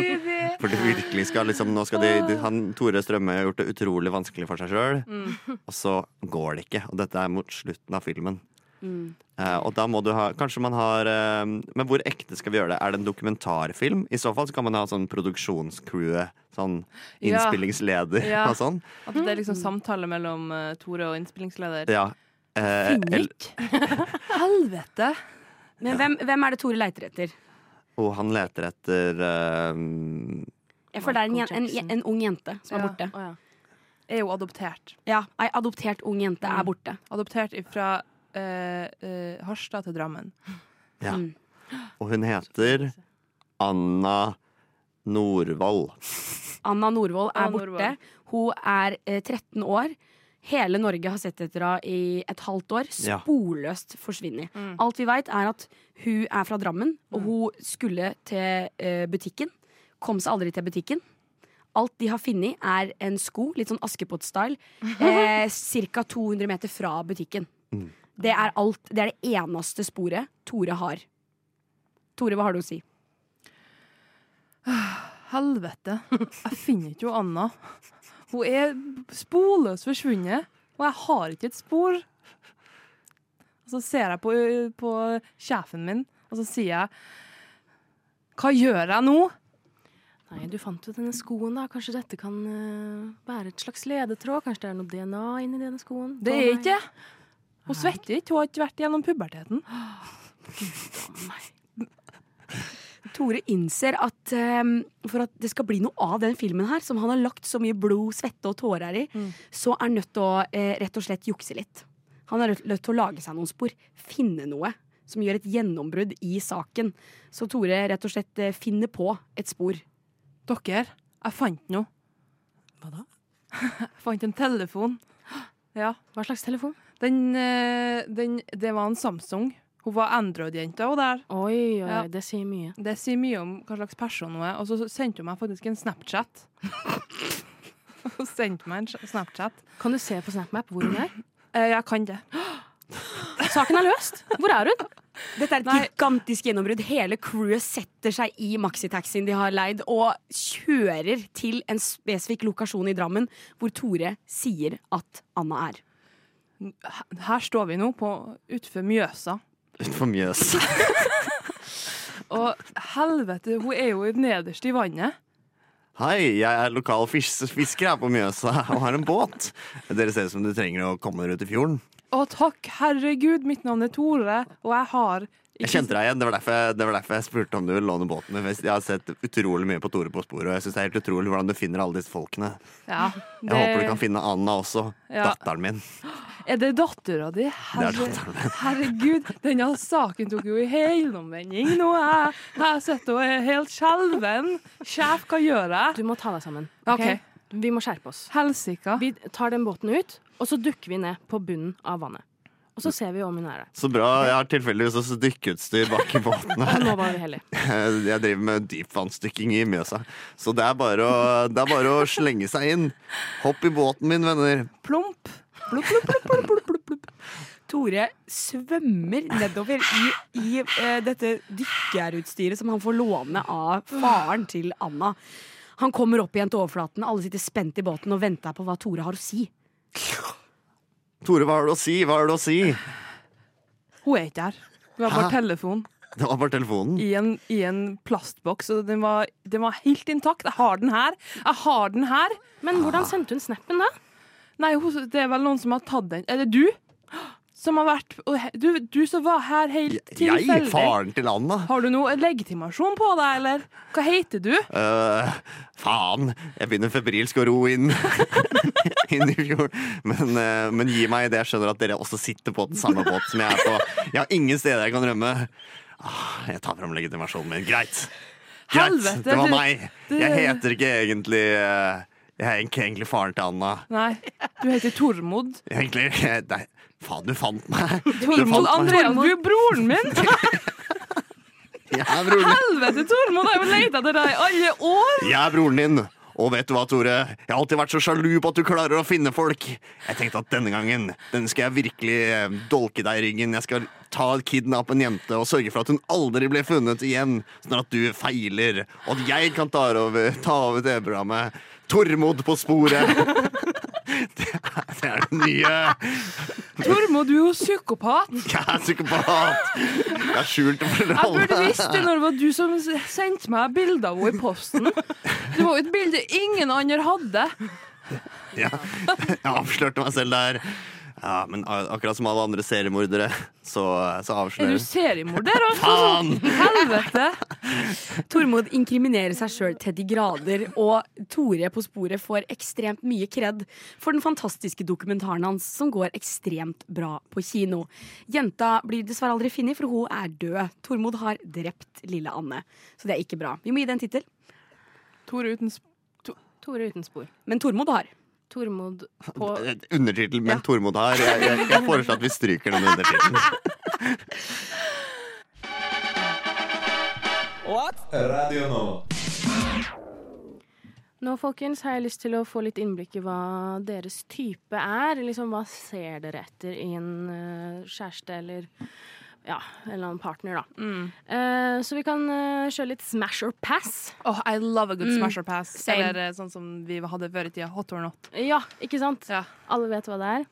For det virkelig skal liksom Nå skal de, de han, Tore Strømme har gjort det utrolig vanskelig for seg sjøl, Mm. og så går det ikke. Og dette er mot slutten av filmen. Mm. Eh, og da må du ha Kanskje man har eh, Men hvor ekte skal vi gjøre det? Er det en dokumentarfilm? I så fall så kan man ha sånn produksjonscrewet. Sånn Ja. innspillingsleder Ja. og sånn. At det er liksom samtale mellom eh, Tore og innspillingsleder? Ja. Eh, el- Helvete! [laughs] Men hvem, hvem er det Tore leiter etter? og han leter etter eh, Jeg føler det er en, jen- Michael en, en ung jente som er borte. Ja. Er jo adoptert. Ja, Ei adoptert ung jente er borte. Adoptert fra Harstad til Drammen. Ja. Mm. Og hun heter Anna Norvoll. Anna Norvoll er Anna borte. Norvoll. Hun er eh, 13 år. Hele Norge har sett etter henne i et halvt år. Ja. Sporløst forsvunnet. Alt vi veit, er at hun er fra Drammen, og hun skulle til eh, butikken. Kom seg aldri til butikken. Alt de har funnet, er en sko, litt sånn Askepott-style, eh, ca. 200 meter fra butikken. Mm. Det er alt. Det er det eneste sporet Tore har. Tore, hva har du å si? Helvete. Jeg finner ikke jo Anna. Hun er sporløst forsvunnet, og jeg har ikke et spor. Og så ser jeg på, på sjefen min, og så sier jeg Hva gjør jeg nå? Nei, du fant jo denne skoen, da. Kanskje dette kan eh, være et slags ledetråd? Kanskje det er noe DNA inni denne skoen? Det Å, er nei. ikke Hun svetter ikke, hun har ikke vært gjennom puberteten. Tore innser at ehm, for at det skal bli noe av den filmen her, som han har lagt så mye blod, svette og tårer i, så er han nødt til å eh, rett og slett jukse litt. Han er nødt nødt til å lage seg noen spor, finne noe som gjør et gjennombrudd i saken. Så Tore rett og slett eh, finner på et spor. Dere, jeg fant noe. Hva da? [laughs] Jeg fant en telefon. Ja. Hva slags telefon? Den, eh, den Det var en Samsung. Hun var Android-jenta, hun der. Oi, oi, oi, Ja. det sier mye. Det sier mye om hva slags person hun er. Og så sendte hun meg faktisk en Snapchat. Hun sendte meg en Snapchat. Kan du se på SnapMap hvor [clears throat] hun er? Eh, Jeg kan det. Saken er løst! Hvor er hun? Dette er et gigantisk gjennombrudd. Hele crewet setter seg i maxitaxien de har leid, og kjører til en spesifikk lokasjon i Drammen hvor Tore sier at Anna er. Her står vi nå på utenfor Mjøsa. Utenfor Mjøs. Og helvete, hun er jo nederst i vannet. Hei, jeg er lokal fis- fisker her på Mjøsa og har en båt. Dere ser ut som du trenger å komme dere ut i fjorden. Å takk, herregud, mitt navn er Tore, og jeg har Jeg kjente deg igjen, det var derfor, jeg- det var derfor jeg spurte om du ville låne båten. min, for Jeg har sett utrolig mye på Tore på sporet, og jeg synes det er helt utrolig hvordan du finner alle disse folkene. Ja, Jeg det- håper du kan finne Anna også. Ja. Datteren min. Er det dattera di? Herre, datteren herregud, denne saken tok jo i helomvending nå. Jeg, jeg sitter og er helt skjelven. Sjef, hva gjør jeg? Du må ta deg sammen. Ok. Vi må skjerpe oss. Helsika. Vi tar den båten ut, og så dukker vi ned på bunnen av vannet. Og så ser vi om hun er der. Så bra. Jeg har tilfeldigvis også dykkeutstyr bak i båten Og her. nå var vi heldige. Jeg driver med dypvannsdykking i Mjøsa, så det er bare å, det er bare å slenge seg inn. Hopp i båten min, venner. Plump. Plupp, plupp, plupp, plupp, plupp, plupp, plupp. Tore svømmer nedover i, i eh, dette dykkerutstyret som han får låne av faren til Anna. Han kommer opp igjen til overflaten, alle sitter spent i båten og venter på hva Tore har å si. Tore, hva har du å si? Hva har du å si? Hun er ikke her. Hun har Hæ? bare telefon Det var bare telefonen. i en, i en plastboks, og den var, den var helt intakt. Jeg har den her. Jeg har den her. Men hvordan sendte hun snappen, da? Nei, hun- det er vel noen som har tatt den. Er det du? Som har vært og he- Du, du som var her helt Jeg? tilfeldig. Faren til Anna? Har du noe legitimasjon på deg, eller? Hva heter du? Øh, faen, jeg begynner febrilsk å ro inn, [laughs] inn i fjorden. Men, øh, men gi meg det. Jeg skjønner at dere også sitter på den samme båt som jeg er på. Jeg har ingen steder jeg kan rømme. Ah, Jeg tar fram legitimasjonen min. Greit. Greit, Helvete, Det var du- meg. du- Jeg heter ikke egentlig øh, Jeg er ikke egentlig faren til Anna. Nei, du heter Tormod. Egentlig Nei, faen, du fant meg. [laughs] Du Tormod fant meg. Andreas, du er broren min! Jeg er broren din. Helvete, Tormod, jeg har jo leita etter deg i alle år! Jeg er broren din. Og vet du hva, Tore? Jeg har alltid vært så sjalu på at du klarer å finne folk. Jeg tenkte at denne gangen denne skal jeg virkelig eh, dolke deg i ryggen. Jeg skal ta kidnappe en jente og sørge for at hun aldri blir funnet igjen. Sånn at du feiler, og at jeg kan ta over, ta over TV-programmet Tormod på sporet. [laughs] Det er, det er det nye. Tormod, du er jo psykopat. Jeg er psykopat. Jeg er skjult for Jeg burde alle. visst det når det var du som s- sendte meg bilde av henne i posten. Det var jo et bilde ingen andre hadde. Ja. [laughs] Jeg avslørte meg selv der. Ja, Men a- akkurat som alle andre seriemordere, så, så Er avslører du seriemorder? altså? Faen! Helvete! Tormod inkriminerer seg sjøl til de grader, og Tore på sporet får ekstremt mye kred for den fantastiske dokumentaren hans, som går ekstremt bra på kino. Jenta blir dessverre aldri funnet, for hun er død. Tormod har drept lille Anne, så det er ikke bra. Vi må gi det en tittel, Tore uten sp... Tore uten spor. men Tormod har. Tormod på Et Undertittel, men Tormod har. Jeg, jeg, jeg foreslår at vi stryker den undertittelen. [laughs] Radio nå. Nå folkens, har jeg lyst til å få litt innblikk i hva deres type er. Liksom, hva ser dere etter i en eh, kjæreste eller ja, en eller annen partner, da. Eh, så vi kan eh, kjøre litt smash or pass. Oh, I love a good smash or pass. same. Eller eh, sånn som vi hadde før i tida. Hot or not. Ja, ikke sant? Ja. Alle vet hva det er.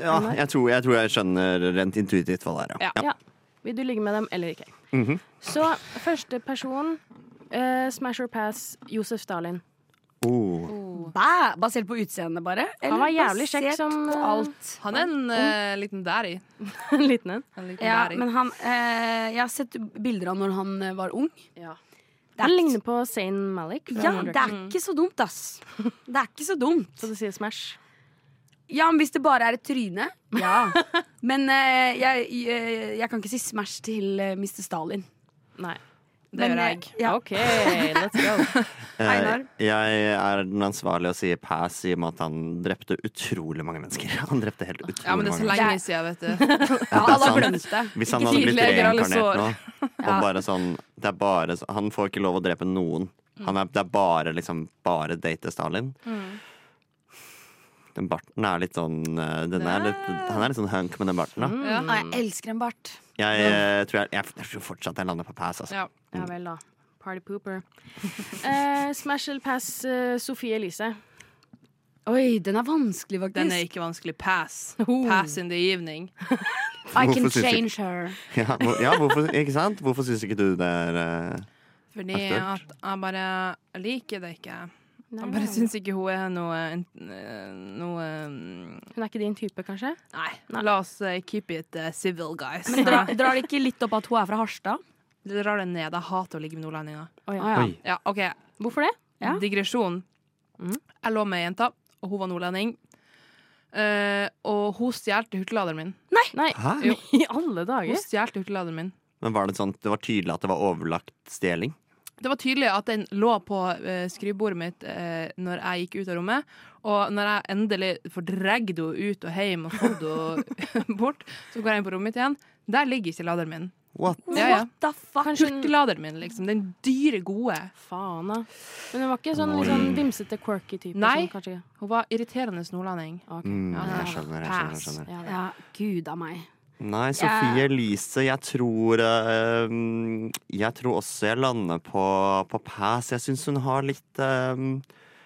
Ja, jeg tror, jeg tror jeg skjønner rent intuitivt hva det er. Ja. Ja. Vil du ligge med dem eller ikke? Mhm. Så første person, eh, smash or pass, Josef Stalin. [laughs] Oh. Bæ! Basert på utseendet, bare? Eller var jævlig kjekk basert som, på eh, alt. Han er en eh, liten daddy. En liten en. En liten Ja, daddy. men han eh, Jeg har sett bilder av når han eh, var ung. Ja. Det Han er, ligner på Zayn Malik. fra ja, Modern det er ikke så dumt, [laughs] ass. Det er ikke så dumt. Så du sier smash. Ja, men hvis det bare er et tryne. Ja. Men eh, jeg, jeg, jeg kan ikke si Smash til eh, Mr. Stalin. [laughs] Nei. Det men, gjør jeg. eh, Ja. OK, let's go. Eh, Einar? Jeg er den ansvarlige og sier pass i og med at han drepte utrolig mange mennesker. Han drepte helt utrolig Ja, men det er så mange lenge siden, vet du. Ja, alle har sant. glemt det. Hvis han Ikke hadde blitt tidligere, eller reinkarnert nå og bare sånn, det er Mm. bare, så- Han får ikke lov å drepe noen. Han er, det er bare, liksom, bare date Stalin. Den barten er litt sånn eh, den er litt, Han er litt sånn hunk med den barten, da. Mm. Ja. Å, jeg elsker en bart. Jeg, eh, tror jeg, jeg, jeg tror fortsatt jeg lander på pass, altså. [laughs] Ja. Ja vel, da. Party pooper. [laughs] Eh, smash eller pass eh, Sofie Elise? Oi, den er vanskelig, faktisk. Den er ikke vanskelig. [laughs] Pass. Pass in the evening. I Hvorfor can synes jeg- change her. Ja, hvor, ja hvorfor, ikke sant? Hvorfor syns ikke du det er eh, Fordi at Aktuelt. jeg bare liker det ikke. Jeg bare syns ikke hun er noe eh, Noe mm, Hun er ikke din type, kanskje? Nei. La oss eh, keep it eh, civil, guys. Men drar, [laughs] drar det ikke litt opp at hun er fra Harstad? Det drar det ned. Jeg hater å ligge med nordlendinger. Å, ja. Ah, ja. Oi. Ja, OK. Hvorfor det? Ja. Mm. Digresjon. Jeg lå med ei jente, og hun var nordlending. Eh, og hun stjal hurtigladeren min. Nei, Hæ? Jo. [laughs] i alle Hun dager! stjal hurtigladeren min. Men var det sånn Det var tydelig at det var overlagt stjeling? Det var tydelig at den lå på eh, skrivebordet mitt eh, når jeg gikk ut av rommet. Og når jeg endelig får dragd henne ut og hjem og fått henne [laughs] bort, så går jeg inn på rommet mitt igjen. Der ligger ikke laderen min. What? Ja, ja. What the fuck? Hurtigladeren min, liksom. Den dyre, gode. Faen, da. Men hun var ikke sånn litt sånn vimsete, quirky type? Nei. Sånn, kanskje? Ah, Hun var irriterende nordlending. Ok. Mm, Ja, jeg skjønner, jeg skjønner. Jeg pass. skjønner. Ja, det. Ja, gud a meg. Nei, Sofie Elise, jeg tror eh, um, Jeg tror også jeg lander på, på pass. Jeg syns hun har litt um,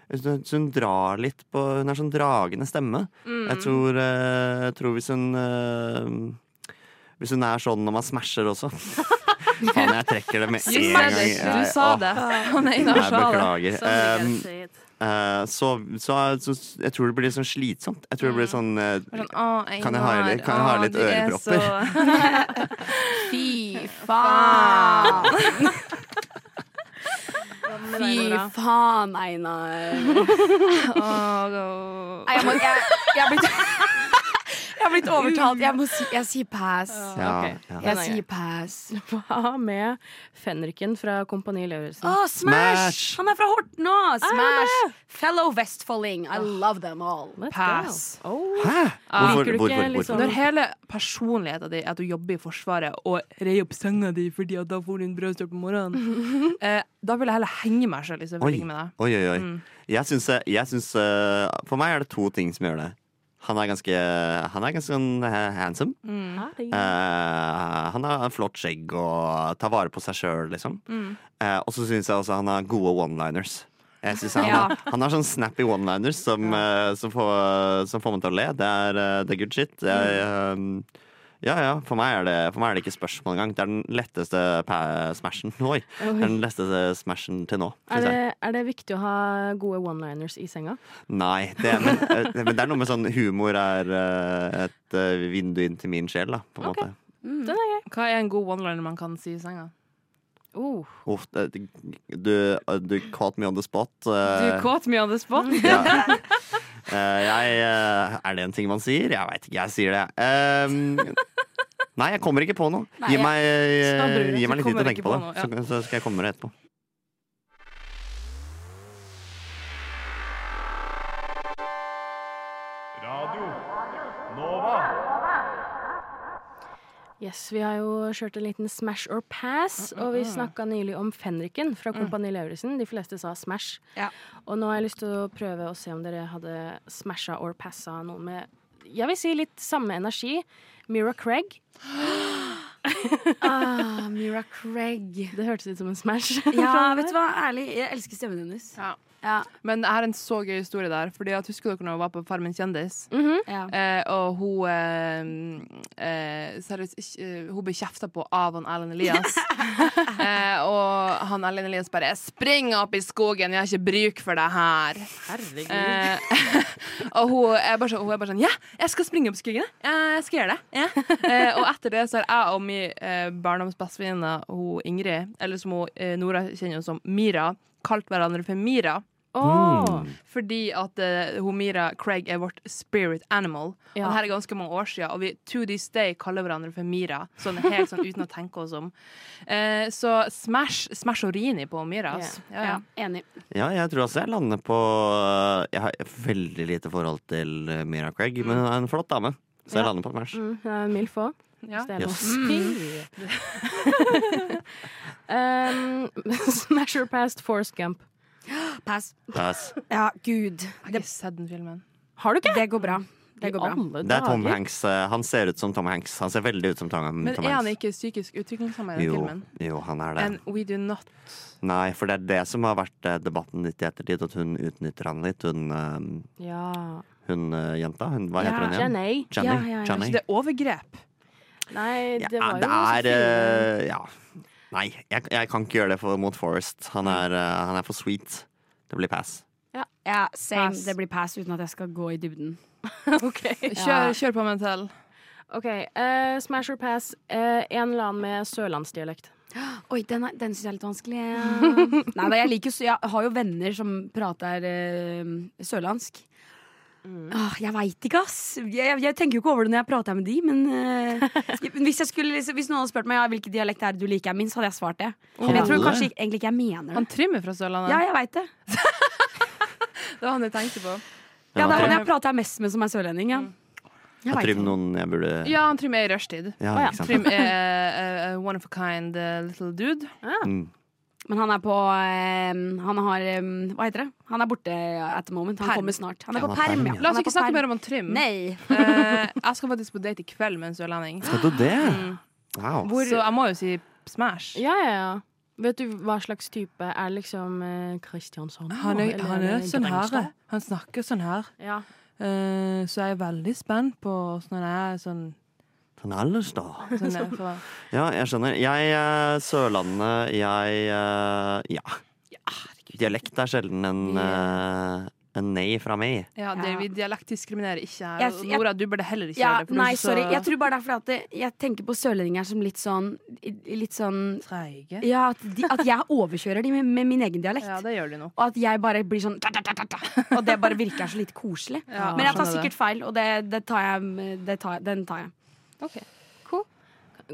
jeg synes hun drar litt på Hun har sånn dragende stemme. Mm. Jeg, tror, eh, jeg tror hvis hun eh, Hvis hun er sånn når man [laughs] smasher også Faen, jeg trekker det med en gang. Jeg- Du sa åh, det. Han Jeg Einar sa det. beklager. Sånn, Um, jeg ser det. eh, så, så, så jeg tror det blir litt sånn slitsomt. Jeg tror det blir sånn Mm. eh, Sånn, «Å, Einar, Kan jeg ha litt- kan jeg ha å, litt du er ørepropper?» [laughs] så- Fy faen! Fy faen, Einar. Å, Nei, jeg, må, jeg, jeg er blitt [laughs] Jeg er blitt overtalt. Jeg, må si, jeg sier pass. ja, Sånn, ok. ja. Jeg sier pass. Hva med fenriken fra Kompani Ah, Lauritzen? Å, Smash! Han Ah, er fra Horten nå! Smash! Fellow Vestfolding. I love them all. Let's Pass. go. Oh. Hæ? Liker du Hvorfor? ikke hvorfor, litt hvorfor? sånn- Når hele personligheten din er at du jobber i Forsvaret og reier opp senga di fordi at da får du en brødstøl på [laughs] morgenen, eh, da vil jeg heller henge meg sjøl. Liksom, for å Oi, ligge med deg. oi, oi. oi. Jeg syns, jeg syns eh, For meg er det to ting som gjør det. Han er ganske, han er ganske sånn eh, handsome. Eh, han har flott skjegg og tar vare på seg sjøl, liksom. Eh, og så syns jeg også han har gode one-liners. Jeg synes han, har, han har sånn snappy one-liners som, eh, som, får- som får meg til å le. Det er, eh, det er good shit. Jeg, eh, ja, ja. For meg, er det, for meg er det ikke spørsmål engang. Det er den letteste pa- smashen Oi. Det er Den letteste smashen til nå. Er synes jeg. det, er det viktig å ha gode one-liners i senga? Nei, det, men, eh, men det er noe med sånn humor er eh, et eh, vindu inn til min sjel, da, på en måte. Hva er en god one-liner man kan si i senga? Oh. Uff, det- du, eh, du caught me on the spot. Du eh, caught me on the [laughs] spot. ja. Eh, jeg, eh, er det en ting man sier? Jeg veit ikke, jeg sier det, jeg. Ehm, nei, jeg kommer ikke på noe. Gi meg, eh, Skal du- gi meg litt du tid til å kommer tenke ikke på det, på så, så skal jeg komme med det etterpå. Radio Nova. Yes, Vi har jo kjørt en liten smash or pass, Mm, og vi snakka nylig om fenriken fra Kompani Lauritzen. De fleste sa smash. Ja. Og nå har jeg lyst til å prøve å se om dere hadde smasha or passa noen med jeg vil si litt samme energi. Mira Craig. [laughs] Ah, Mira Craig. Det hørtes ut som en smash. Ja, vet du hva? Ærlig, jeg elsker stemmen hennes. Ja. Ja, Men jeg har en så gøy historie der. Fordi at Husker dere når hun var på Farmen kjendis? ja. Eh, og hun eh, eh, seriøst, ikke- eh, Hun ble kjefta på av han Erlend Elias. eh, og han Erlend Elias bare 'Spring opp i skogen, jeg har ikke bruk for deg her'. Eh, [laughs] og hun er, bare sånn, hun er bare sånn 'Ja, jeg skal springe opp i skogen, jeg. Ja, jeg skal gjøre det'. Ja. Eh, og etter det så har jeg og min eh, barndomsbestevenninne hun Ingrid, eller som hun, eh, Nora kjenner henne som, Mira, kalt hverandre for Mira. Mm. Åh. Fordi at eh, hun Mira Craig er vårt spirit animal. Ja. Og det her er ganske mange år siden, og vi to this day kaller hverandre for Mira. Sånn helt sånn uten å tenke oss om. [laughs] Eh, så smash, smash og rini på Mira. ass. Ja, ja. ja enig. Ja, jeg tror også jeg lander på eh, Jeg har veldig lite forhold til eh, Mira Craig, men hun er en flott dame. Så [laughs] jeg Ja. lander på Smash. Mm, hun er milf òg. Ja. Det er Yes. lov. Mm. [laughs] um, smash or past Forrest Gump. Pass. Pass. Ja, gud. Mm. Jeg har ikke sett den filmen. Har du ikke? Det går bra. Det går bra. Alle Det er Tom dager. Hanks. eh, Han ser ut som Tom Hanks. Han ser veldig ut som Tom, Tom Men Hanks. er han ikke psykisk utviklingshemmet i den jo, filmen? jo, han er det. And we do not Nei, for det er det som har vært eh, debatten litt i ettertid, at hun utnytter han litt. Hun, eh, Ja. hun eh, jenta, hun, hva Ja, heter hun igjen? Janay. Jenny. Ja, ja, ja. Jenny. Det er overgrep. Nei, Ja, det var jo det så er fint. eh, Ja. Nei, jeg, jeg kan ikke gjøre det for, mot Forest. Han er, eh, han er for sweet. Det blir pass. Ja, same. Pass. Det blir pass uten at jeg skal gå i dybden. Kjør, kjør på med en til. OK. eh, smash or pass. eh, en eller annen med sørlandsdialekt. Oi, den, er- den syns jeg er litt vanskelig. [laughs] Nei, da, jeg, liker, jo- jeg har jo venner som prater eh, sørlandsk. Åh, jeg veit ikke, ass. Jeg, jeg tenker jo ikke over det når jeg prater med de, men [laughs] eh, hvis, jeg skulle, liksom- hvis noen hadde spurt meg ja, hvilken dialekt er det du liker minst, hadde jeg svart det. Men jeg tror Alle? kanskje ikke- egentlig ikke jeg mener Han det. Trym er fra Sørlandet. Ja, jeg veit det. Det var han jeg tenkte på. Ja, det er jeg, han jeg prater mest med som er sørlending, ja. jeg Jeg vet tror ikke. noen jeg burde Ja, han Trym er i rushtid. Ja, ikke sant? Trym er uh, one of a kind eh, little dude. Mm. Men han er på eh, Han har eh, Hva heter det? Han er borte at the moment. Han Perm. kommer snart. Han er Ja, på han er perm, perm, ja. ja. La Han oss er ikke på snakke perm. mer om Trym. Nei. Eh, jeg skal faktisk på date i kveld med en sørlending. Skal du det? Wow. Så jeg må jo si Smash. Ja, ja, ja. Vet du hva slags type? Er det liksom eh, Kristiansand? Han er, eller han det er sånn her. Grimstad? eh. Han snakker sånn her. Ja. Eh, så jeg er veldig spent på åssen han er sånn, Den ellers, da. sånn [laughs] eh, for, Ja, jeg skjønner. Jeg eh, Sørlandet, jeg eh, Ja. Dialekt er sjelden en, eh, en nei fra meg. Ja, det, vi dialektdiskriminerer ikke her. Jeg- og jeg- Nora, du burde heller ikke Ja, gjøre det. for du er nei, så sorry. Jeg tror bare det er fordi at det- jeg tenker på sørlendinger som litt sånn Litt sånn treige. Ja, at, de, at jeg overkjører de med, med min egen Ja, dialekt. det gjør du nok. Og at jeg bare blir sånn ta, ta, ta, ta, ta, Og det bare virker så litt koselig. [laughs] Ja, Men jeg skjønner tar det. sikkert feil, og det, det tar jeg, det tar, jeg- den tar jeg.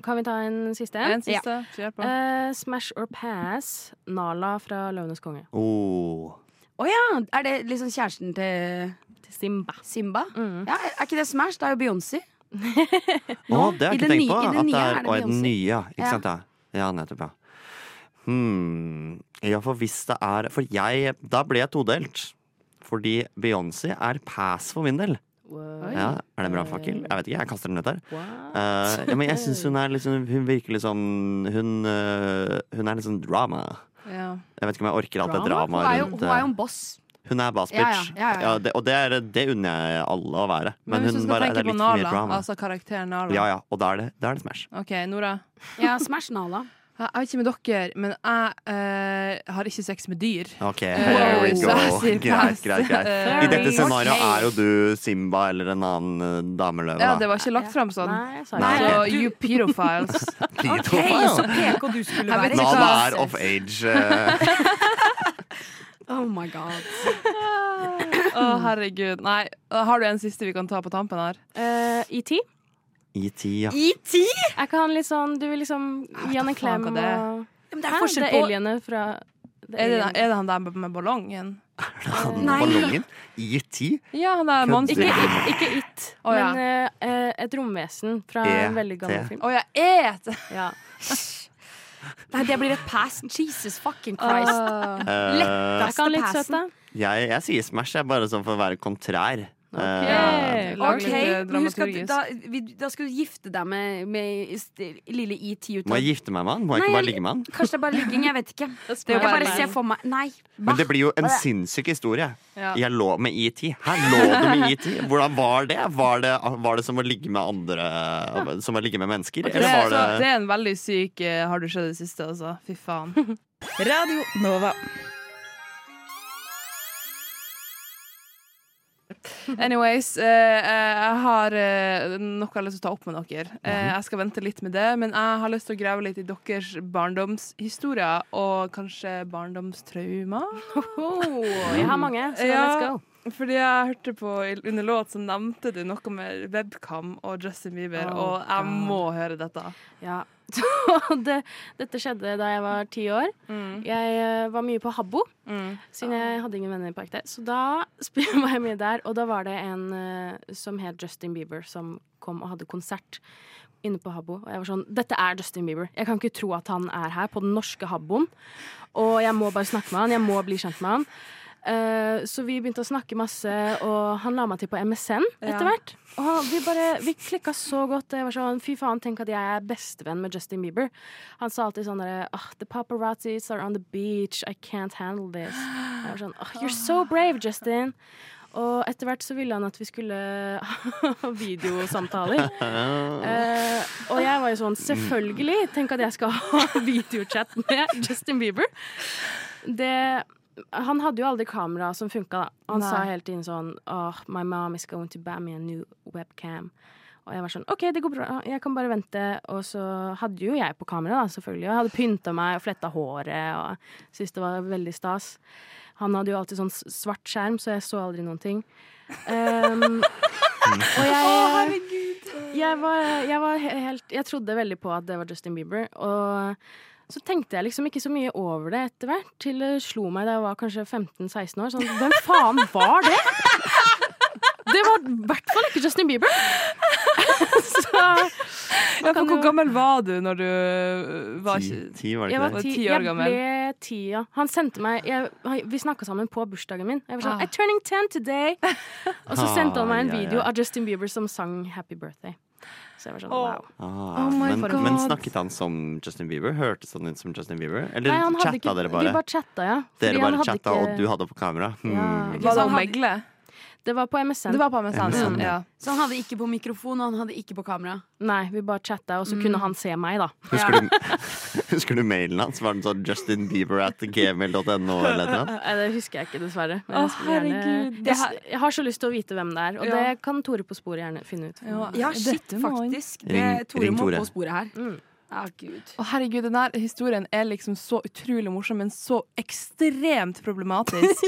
Kan vi ta en siste? En siste. Kjør på. Eh, smash or pass. Nala fra Løvenes konge. Oh. Å ja! Er det liksom kjæresten til Til Simba. Simba? Mm. Ja, er ikke det Smash? Det er jo Beyoncé. Å, det har i jeg ikke den tenkt nye- på. i At den det nye er, er det å, i den Beyoncé. nye, ja. Ikke Ja. sant? Ja, ja nettopp, ja. Hmm. Ja, for hvis det er For jeg Da ble jeg todelt. Fordi Beyoncé er pass for min del. Wow. Ja, er det en brannfakkel? Jeg vet ikke, jeg kaster den ut der. Wow. Eh, ja, men jeg syns hun er liksom Hun virker litt sånn Hun, eh, hun er litt sånn drama. Ja. Jeg vet ikke om jeg orker alt det Drama? Hun dramaet er jo, rundt hun er jo det. en boss. Hun er boss Ja, ja, bitch. ja, ja, ja. Ja, det, og det, er, det unner jeg alle å være. Men, Men hvis du hun skal bare det tenke er på litt for mye Nala, drama. altså karakteren Nala Ja, ja, og da er det, da er det Smash. OK, Nora. Ja, Smash Nala. Jeg jeg vet ikke med dere, men jeg eh, har ikke sex med dyr. OK, Eh, here we så go. jeg sier Greit, pass. greit, [laughs] greit. Eh, I dette scenarioet Ok. er jo du Simba eller en annen eh, dameløve. Ja, da. det var ikke lagt fram sånn. Nei, sorry. Nei, Så ok. you pedophiles. Pedofil. PK du skulle Jeg vet ikke Nala hva- er of age. eh, Oh my god. Å, herregud. Nei. Har du en siste vi kan ta på tampen her? Eh, ET. ET, E ja. ET? Er ikke han litt sånn Du vil liksom gi han en faen klem hva og det er. Men Hæ? Det er alienet fra det Er det, alien. er det han der med ballongen? Han Nei. ballongen. ET? Ja, han der Kødder Ikke, monsteret. ikke, ikke It, Å, ja. men eh, eh, et romvesen fra en veldig gammel E.T.. film. Å ja, et! Ja. Nei, det blir et pass. Jesus fucking Christ. Eh, Er ikke han litt passen. søt, da? jeg, jeg sier Smash, jeg bare sånn for å være kontrær. Eh, Ok. Lag Ok, litt eh, men husk at dramaturgisk. da, vi, da skal du gifte deg med, med st- lille ET ut må av jeg gifte meg med han? Må jeg Nei, ikke bare jeg- ligge med han? Kanskje det er bare ligging, jeg vet ikke. er jo jeg bare bare ser for meg Nei. Men det blir jo en sinnssyk historie. Ja. Jeg lå med ET. Her lå du med ET. Hvordan var det? Var det, var det som å ligge med andre Som å ligge med mennesker? Det, Eller var det, det er en veldig syk eh, Har du sett det siste, altså? Fy faen. Radio Nova. Anyways, eh, eh, jeg har eh, noe jeg har lyst til å ta opp med dere. Eh, jeg skal vente litt med det, men jeg har lyst til å grave litt i deres barndomshistorier og kanskje barndomstraumer. Oh, jeg har mange, så let's go. Fordi jeg hørte på i- under låt så nevnte du noe med webcam og Justin Bieber, Oh, og jeg God. må høre dette. Ja. [laughs] det, dette skjedde da jeg var ti år. Jeg eh, var mye på Habbo, siden jeg hadde ingen venner på ekte. Så da [laughs] spil- var jeg mye der, og da var det en eh, som het Justin Bieber, som kom og hadde konsert inne på Habbo. Og jeg var sånn Dette er Justin Bieber. Jeg kan ikke tro at han er her på den norske Habboen. Og jeg må bare snakke med han. Jeg må bli kjent med han. Eh, så vi begynte å snakke masse, og han la meg til på MSN etter Ja. hvert. Og han- vi bare, vi klikka så godt. og Jeg var sånn, Fy faen, tenk at jeg er bestevenn med Justin Bieber. Han sa alltid sånn derre «Ah, The paparazzis are on the beach. I can't handle this. Jeg var sånn «Ah, You're so brave, Justin. Og etter hvert så ville han at vi skulle [laughs] ha videosamtaler. Eh, og jeg var jo sånn Selvfølgelig! Tenk at jeg skal [laughs] ha videochat med Justin Bieber. Det Han hadde jo aldri kamera som funka, da. Han sa Nei. hele tiden sånn Åh, my mom is going to buy me a new webcam. Og jeg var sånn OK, det går bra, jeg kan bare vente. Og så hadde jo jeg på kamera, da, selvfølgelig. Og jeg hadde pynta meg og fletta håret og syntes det var veldig stas. Han hadde jo alltid sånn s- svart skjerm, så jeg så aldri noen ting. Um, og jeg jeg var, jeg var he- helt Jeg trodde veldig på at det var Justin Bieber. Og så tenkte jeg liksom ikke så mye over det etter hvert, til det slo meg da jeg var kanskje 15-16 år. Sånn, hvem faen var det? Det var i hvert fall ikke Justin Bieber. Så Ja, for kan hvor jo- gammel var du når du øh, var Ti, ikke ti E var det jeg ikke var det? ti, ti år jeg gammel. ble ti, ja. Han sendte meg jeg, Vi snakka sammen på bursdagen min. Jeg var sånn Ah. I'm turning 10 today. Og så sendte han meg en Ah, ja, video ja. av Justin Bieber som sang Happy Birthday. Så jeg var sånn Åh. wow. Ah, Oh my men, God. men snakket han som Justin Bieber? Hørtes han ut som Justin Bieber? Eller Nei, han hadde chatta ikke- dere Vi bare? bare chatta, ja. Fordi dere han bare hadde chatta, ikke- og du hadde på kamera? Hmm. Ja. Var det Så å han hadde- megle? Det var på MSN. Sånn Det var på MSN. MSN, Mm, ja. ja. Så han hadde ikke på mikrofon, og han hadde ikke på kamera. Nei, vi bare chatta, og så kunne han se meg, da. Husker, du, [laughs] husker du mailen hans? Var den sånn Justin Bieber at gmail.no eller [laughs] noe? Nei, eh, Det husker jeg ikke, dessverre. Men Å, jeg skulle gjerne- herregud. Jeg, s- jeg har så lyst til å vite hvem det er, og Ja. det kan Tore på sporet gjerne finne ut. Ja. Ja, shit, Dette må inn. faktisk. Det Ring- Tore ring må Tore. på sporet her. Mm. Ja, gud. Å herregud, den der historien er liksom så utrolig morsom, men så ekstremt problematisk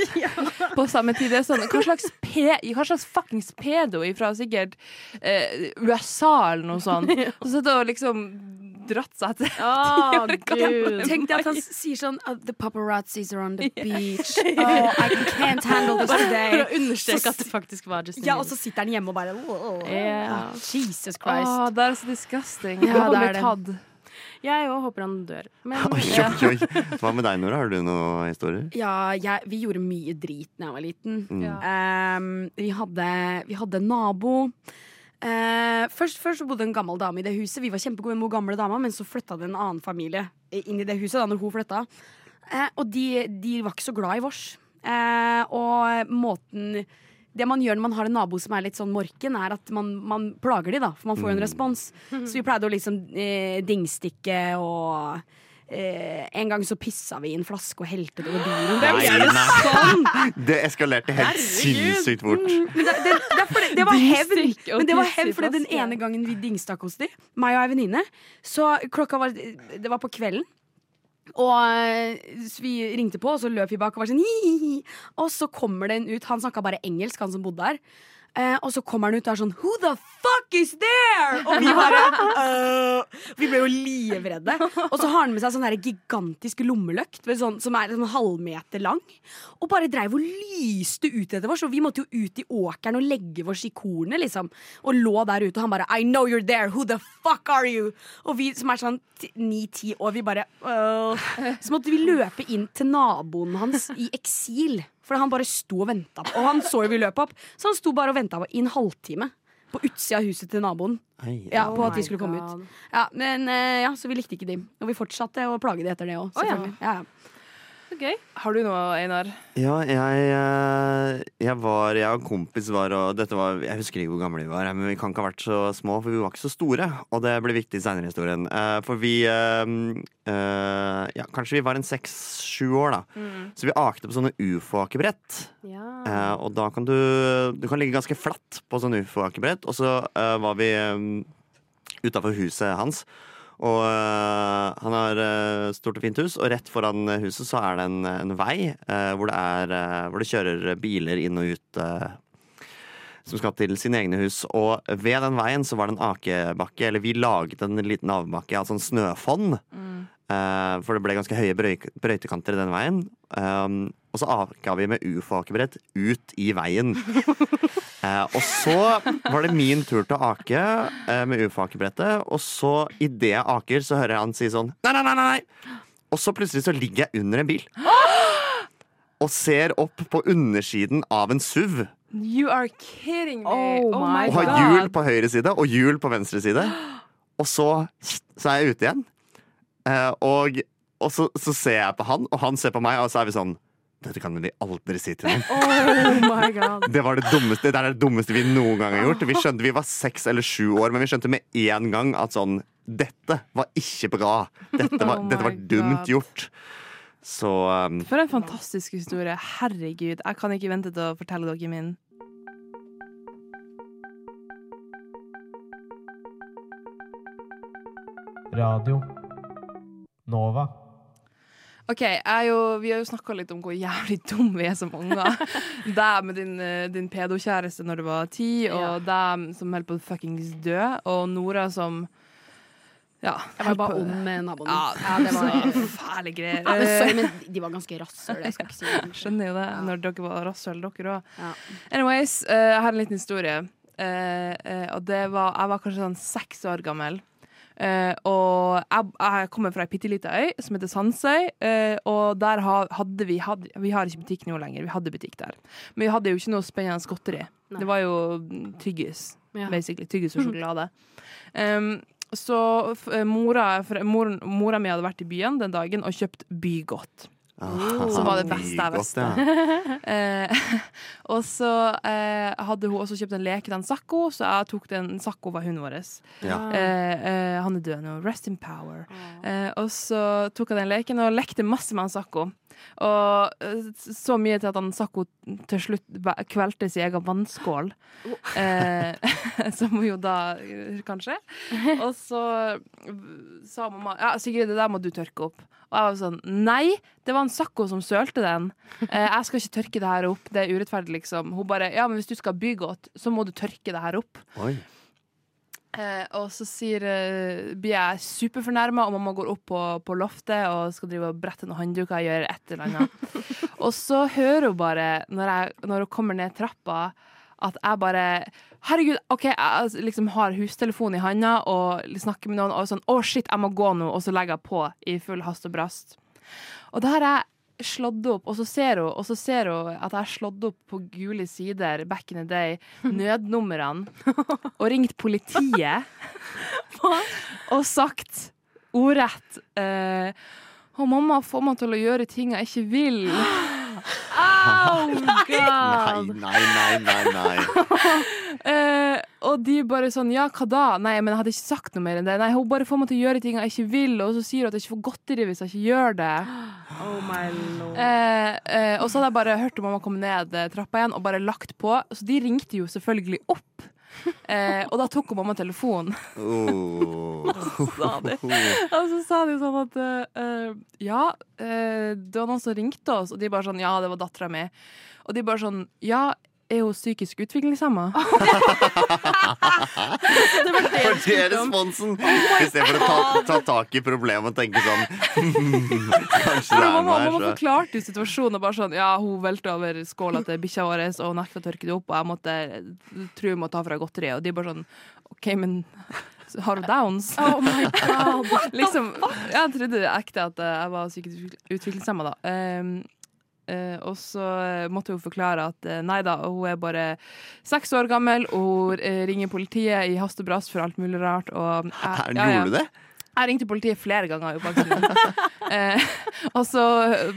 på samme tid. Det er sånn, hva slags, pe hva slags fuckings pedo fra sikkert eh, USA eller noe sånt, som sitter og liksom dratt seg etter [laughs] Å, gamle. gud. Tenk deg at han sier sånn uh, The paparazzis are on [laughs] the beach. Oh, I can't handle this For å today. understreke at det faktisk var Justin Ja, og Bieber. så sitter han hjemme og bare oh, Ja. Jesus Å, Christ. det er så disgusting. Ja, Håper det han er blir tatt. Jeg òg håper han dør. Men Oi, oi, oi. Hva med deg, Nora? Har du noen historier? Ja, jeg, vi gjorde mye drit da jeg var liten. Mm. Ja. Ehm, vi, hadde, vi hadde en nabo. Eh, først, først så bodde en gammel dame i det huset. Vi var kjempegode med hun gamle dama, men så flytta det en annen familie inn i det huset. da når hun flytta Eh, Og de, de var ikke så glad i vårs. Eh, og måten Det man gjør når man har en nabo som er litt sånn morken, er at man, man plager de da, for man får jo en respons. Så vi pleide å liksom eh, dingstikke og eh, En gang så pissa vi i en flaske og helte det over bilen. Det Nei, er jo nei. sånn! Det eskalerte helt sinnssykt fort. Men det, det, det, er fordi- det var hevn. Dingstikk og Men det var tiss i hevn fordi den flaske. ene gangen vi dingstakk hos de, meg og ei venninne, så klokka var Det var på kvelden. Og eh, så vi ringte på, og så løp vi bak og var sånn «Hi-hi-hi». Og så kommer den ut. Han snakka bare engelsk, han som bodde der. Eh, og så kommer han ut og er sånn Who the fuck is there?! Og vi bare «Øh». Vi ble jo livredde. Og så har han med seg sånn der gigantisk lommeløkt med sånn, som er en halvmeter lang. Og bare dreiv og lyste ut etter oss, og vi måtte jo ut i åkeren og legge oss i kornet, liksom. Og lå der ute, og han bare I know you're there, who the fuck are you? Og vi som er sånn ti- ni-ti år, vi bare «Åh». Så måtte vi løpe inn til naboen hans i eksil. For han bare sto og venta. Og han så jo vi løp opp, så han sto bare og venta i en halvtime. På utsida av huset til naboen. Ai, ja. Ja, på at Oh my de skulle komme God. ut. Ja, men eh, ja, Så vi likte ikke de. Og vi fortsatte å plage de etter det òg, Å, ja. selvfølgelig. Ja, ja. så gøy. Har du noe, Einar? Ja, jeg, eh, jeg var Jeg og en kompis var og dette var, Jeg husker ikke hvor gamle vi var, men vi kan ikke ha vært så små, for vi var ikke så store. Og det blir viktig seinere i historien. Eh, For vi eh, eh, Ja, kanskje vi var en seks-sju år, da. Så vi akte på sånne ufo-akebrett. Ja. Eh, og da kan du Du kan ligge ganske flatt på sånn ufo-akebrett. Og så eh, var vi um, utafor huset hans. Og eh, han har eh, stort og fint hus, og rett foran huset så er det en, en vei eh, hvor, det er, eh, hvor det kjører biler inn og ut eh, som skal til sine egne hus. Og ved den veien så var det en akebakke, eller vi laget en liten avbakke, altså en snøfonn. Eh, for det ble ganske høye brøyk- brøytekanter i den veien. Um, og så aka vi med ufo-akebrett ut i veien. Eh, og så var det min tur til å ake eh, med ufo-akebrettet, og så idet jeg aker, så hører jeg han si sånn Nei, nei, nei, nei! nei!» Og så plutselig så ligger jeg under en bil. og ser opp på undersiden av en SUV You are kidding me! Oh my og har hjul på høyre side og hjul på venstre [gasps] side. Og så, så er jeg ute igjen. Eh, og og så, så ser jeg på han, og han ser på meg, og så er vi sånn Dette kan vi aldri si til [laughs] noen. Oh my god. Det var det dummeste, det er det dummeste vi noen gang har gjort. Vi skjønte vi var seks eller sju år, men vi skjønte med en gang at sånn Dette var ikke bra. Dette [laughs] var, Oh dette var my dumt God. gjort. Så um, For en fantastisk historie. Herregud, jeg kan ikke vente til å fortelle dere min. Radio Nova. Ok, jeg er jo, Vi har jo snakka litt om hvor jævlig dum vi er som [laughs] unger. deg med din, eh, din pedokjæreste når du var ti, og deg som holdt på å fuckings dø, og Nora som Ja. Jeg var holdt bare på- ond med naboen min. Ja, Ja, [laughs] det var fæle greier. Eh, Ja, men sorry, men de var ganske rasshøl. Jeg skal ikke si [laughs] det. Skjønner jo det, når dere var rasshøl, dere òg. Ja. Anyways, eh, jeg har en liten historie. Eh, eh, og det var Jeg var kanskje sånn seks år gammel. Eh, og jeg, jeg kommer fra ei bitte lita øy som heter Sandsøy. eh, og der ha, hadde vi hatt Vi har ikke butikk nå lenger, vi hadde butikk der. Men vi hadde jo ikke noe spennende godteri. Nei. Det var jo mm, tyggis, Ja. Mhm. basically. Tyggis og sjokolade. Um, så f mora, for, moren, mora mi hadde vært i byen den dagen og kjøpt Bygodt. ah, Oh, Som var det beste jeg visste. [laughs] Eh, [laughs] og så eh, hadde hun også kjøpt en leke til en Sakko, så jeg tok den. Sakko var hunden vår. Ja. Eh, eh, han er død nå. Rest in power. Eh, og så tok jeg den leken og lekte masse med han Sakko. Og eh, så mye til at han Sakko til slutt ba- kvelte sin egen vannskål. Eh, [laughs] som jo da eh, kanskje. Og så eh, sa mamma Ja, Sigrid, det der må du tørke opp. Og jeg var sånn Nei, det var en Sakko som sølte den. Eh, jeg skal ikke tørke det her opp. Det er urettferdig, liksom. Hun bare Ja, men hvis du skal ha bygodt, så må du tørke det her opp. Oi. Eh, og så sier, eh, blir jeg superfornærma, og mamma går opp på, på loftet og skal drive og brette noen håndduker og gjøre et eller annet. og så hører hun bare, når, jeg, når hun kommer ned trappa, at jeg bare Herregud, OK, jeg liksom har hustelefonen i handa og snakker med noen, og sånn Å, shit, jeg må gå nå. Og så legger jeg på i full hast og brast. Og da har jeg slått opp, og så ser hun, og så ser hun at jeg har slått opp på gule sider back in the day, nødnumrene, og ringt [laughs] politiet og sagt ordrett eh, Å, mamma får meg til å gjøre ting jeg ikke vil. [gasps] Au! Nei, nei, nei, nei. nei. Eh, og de bare sånn Ja, hva da? Nei, men jeg hadde ikke sagt noe mer enn det. Nei, Hun bare får meg til å gjøre ting jeg ikke vil, og så sier hun at jeg ikke får godteri hvis jeg ikke gjør det. [gasps] Oh my lord. Eh, eh, og så hadde jeg bare hørt om mamma kom ned eh, trappa igjen og bare lagt på. Så de ringte jo selvfølgelig [laughs] opp. Eh, og da tok hun mamma telefonen. Oh. [laughs] Og så sa de sånn at eh, eh, Ja, eh, det var noen som ringte oss, og de bare sånn Ja, det var dattera mi. Og de bare sånn Ja, er hun psykisk utviklingshemma? For det er Oh responsen! Istedenfor å ta, ta tak i problemet og tenke sånn [laughs] hmm, Kanskje Ja, det er mamma, noe mamma her, så forklarte jo situasjonen. Og bare sånn, ja, Hun velta over skåla til bikkja vår, og hun nekta å tørke det opp. Og jeg måtte tro hun må ta fra godteriet. Og de bare sånn OK, men [laughs] har hun downs? [laughs] Oh my god. [laughs] liksom, jeg trodde ekte at eh, jeg var psykisk utviklingshemma, da. Ehm, eh, og så eh, måtte hun forklare at eh, nei da, hun er bare seks år gammel, og hun eh, ringer politiet i hast og brast for alt mulig rart. Og, jeg- Her, ja, ja. Gjorde du det? Jeg ringte politiet flere ganger. Jo, faktisk. eh, og så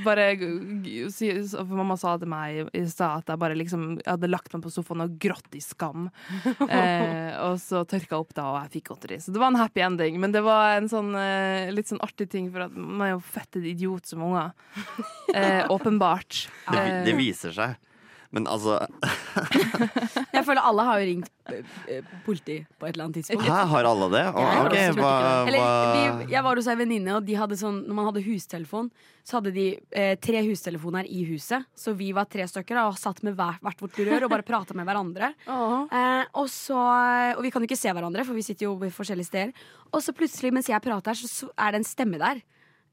bare g- g- si- så- For mamma sa til meg i stad at jeg bare liksom jeg hadde lagt meg på sofaen og grått i skam. Eh, og så tørka jeg opp da, og jeg fikk godteri. Så det var en happy ending. Men det var en sånn eh, litt sånn artig ting, for at man er jo fett en idiot som unger. Eh, åpenbart. Det, vi- det Eh, viser seg. Men altså, Jeg føler alle har jo ringt eh, politiet på et eller annet tidspunkt. her har alle det. Å, Jeg har OK, også hva, gjort det. Eller, hva vi, jeg var hos ei venninne, og de hadde sånn, når man hadde hustelefon, så hadde de eh, tre hustelefoner i huset. Så vi var tre stykker da, og satt med hver, hvert vårt rør og bare prata med hverandre. Eh, og, så, og vi kan jo ikke se hverandre, for vi sitter jo i forskjellige steder. Og så plutselig, mens jeg prater, så, så er det en stemme der.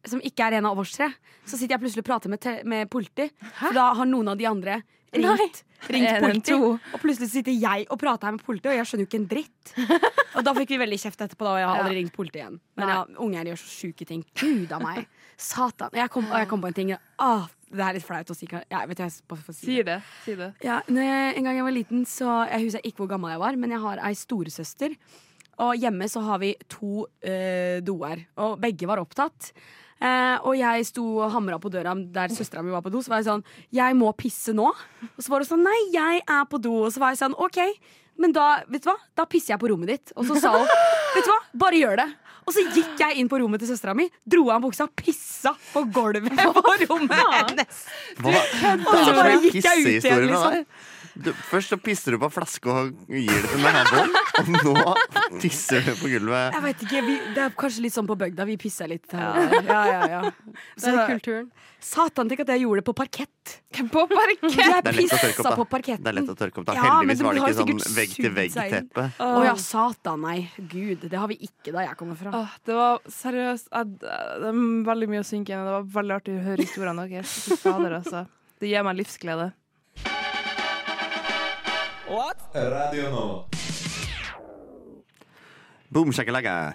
Som ikke er en av oss tre. Så sitter jeg plutselig og prater med, te- med politi. For da har noen av de andre Ringt, ringt En, en, politi. to. Og plutselig sitter jeg og prater her med politiet, og jeg skjønner jo ikke en dritt. [laughs] Og da fikk vi veldig kjeft etterpå, da, og jeg har aldri ringt politiet igjen. Men ja, unger gjør så sjuke ting. Gud a meg. Satan. Jeg kom, og jeg kom på en ting. Ah, det er litt flaut å si. kan- Ja, vet du, jeg bare får si Sier det. Sier det. ja, når jeg, en gang jeg var liten, så Jeg husker ikke hvor gammel jeg var, men jeg har ei storesøster. Og hjemme så har vi to eh, doer, og begge var opptatt. Eh, og jeg sto og hamra på døra der søstera mi var på do. Så var jeg sånn Jeg må pisse nå. Og så var hun sånn Nei, jeg er på do. Og så var jeg sånn OK, men da vet du hva? Da pisser jeg på rommet ditt. Og så sa hun Vet du hva? Bare gjør det. Og så gikk jeg inn på rommet til søstera mi, dro av buksa, pissa på gulvet på rommet hennes. Hva? Og så altså, bare gikk jeg ut igjen, Pissehistorie fra liksom. deg. Du, først så pisser du på en flaske og gir det til meg her bånd, og nå tisser du på gulvet. Jeg vet ikke, vi, Det er kanskje litt sånn på bygda. Vi pisser litt her. og der. Ja, [laughs] ja, ja. Det er kulturen. Satan, tenk at jeg gjorde det på parkett! På parkett! Det er Jeg lett å tørke pissa på opp, da. parketten. Det er lett å tørke opp da. Ja, men Heldigvis det var det har ikke sikkert sånn sugd vegg-til-vegg-teppe. Å ja, satan, nei. Gud, det har vi ikke der jeg kommer fra. Åh, det var seriøst jeg- Det er veldig mye å synke igjen. Det var veldig artig å høre historiene deres. Fy fader, altså. Det gir meg livsglede. Radio Nova. Boom, shakalaka.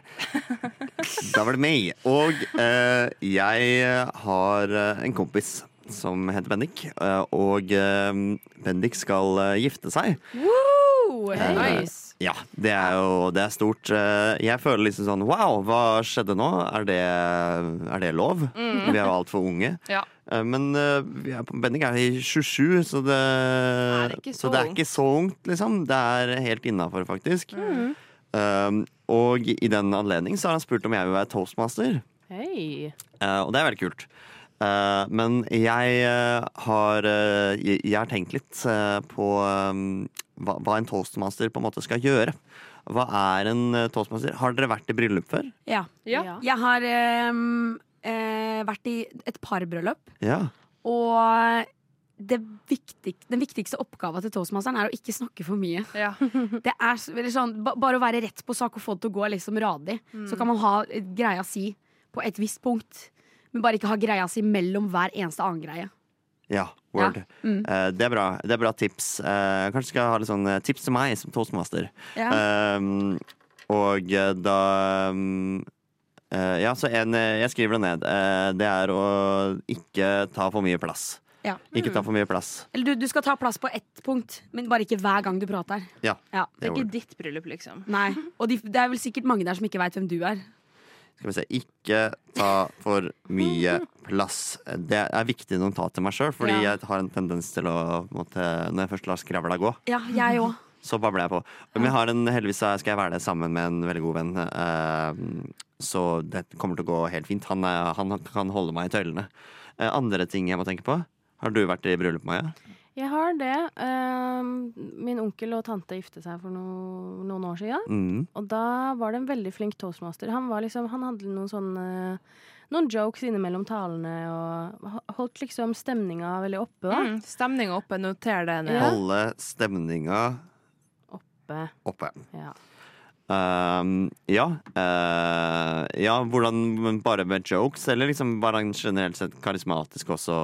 Da var det meg. Og eh, jeg har eh, en kompis som heter Bendik. eh, og eh, Bendik skal eh, gifte seg. Woo! Eh, Nice. Ja, det er jo det er stort. Eh, Jeg føler liksom sånn Wow, hva skjedde nå? Er det, er det lov? Vi er jo altfor unge. Mm. [laughs] Ja. Eh, Men eh, vi er, på- Bendik er i 27, så det, det ikke så så det er ungt. ikke så ungt, liksom. Det er helt innafor, faktisk. Mm. Um, og i den anledning så har han spurt om jeg vil være toastmaster. Hei. Eh, og det er veldig kult. Eh, men jeg eh, har eh, jeg, jeg har tenkt litt eh, på um, hva, hva en toastmaster på en måte skal gjøre. Hva er en eh, toastmaster? Har dere vært i bryllup før? Ja. Ja. Jeg har ehm, eh, vært i et parbryllup, Ja. og det viktig, den viktigste oppgaven til toastmasteren er å ikke snakke for mye. Ja. [laughs] Det er så- eller sånn, ba, bare å være rett på sak og få det til å gå liksom radig. Så kan man ha eh, greia si på et visst punkt, men bare ikke ha greia si mellom hver eneste annen greie. Ja, word. Mm. Eh, det, er bra. det er bra tips. Eh, kanskje skal jeg ha litt sånn eh, tips til meg som toastmaster. Ja. Um, og eh, da um, eh, Ja, så en eh, Jeg skriver det ned. Eh, det er å ikke ta for mye plass. Ja. Ikke ta for mye plass. Eller du, du skal ta plass på ett punkt, men bare ikke hver gang du prater. Ja. Ja. Det er word. ditt bryllup, liksom. Nei. Og de, det er vel sikkert mange der som ikke veit hvem du er. Skal vi se. Ikke ta for mye plass. Det er viktig notat til meg sjøl, fordi Ja. jeg har en tendens til å på en måte, Når jeg først lar skravla gå, Ja, jeg òg. så babler jeg på. Men jeg har en, heldigvis så skal jeg være det sammen med en veldig god venn. eh, så det kommer til å gå helt fint. Han, er, han kan holde meg i tøylene. Eh, andre ting jeg må tenke på? Har du vært i bryllup, Maja? Jeg har det. Ehm, min onkel og tante gifte seg for no, noen år siden. Mm. Og da var det en veldig flink toastmaster. Han, var liksom, han hadde noen sånne noen jokes innimellom talene og ho- holdt liksom stemninga veldig oppe. Da. Mm, Stemninga oppe. Noter det ned. Ja. Holde stemninga oppe. oppe. Ja. Ehm, ja. eh, ja, hvordan men Bare med jokes, eller liksom var han generelt sett karismatisk også?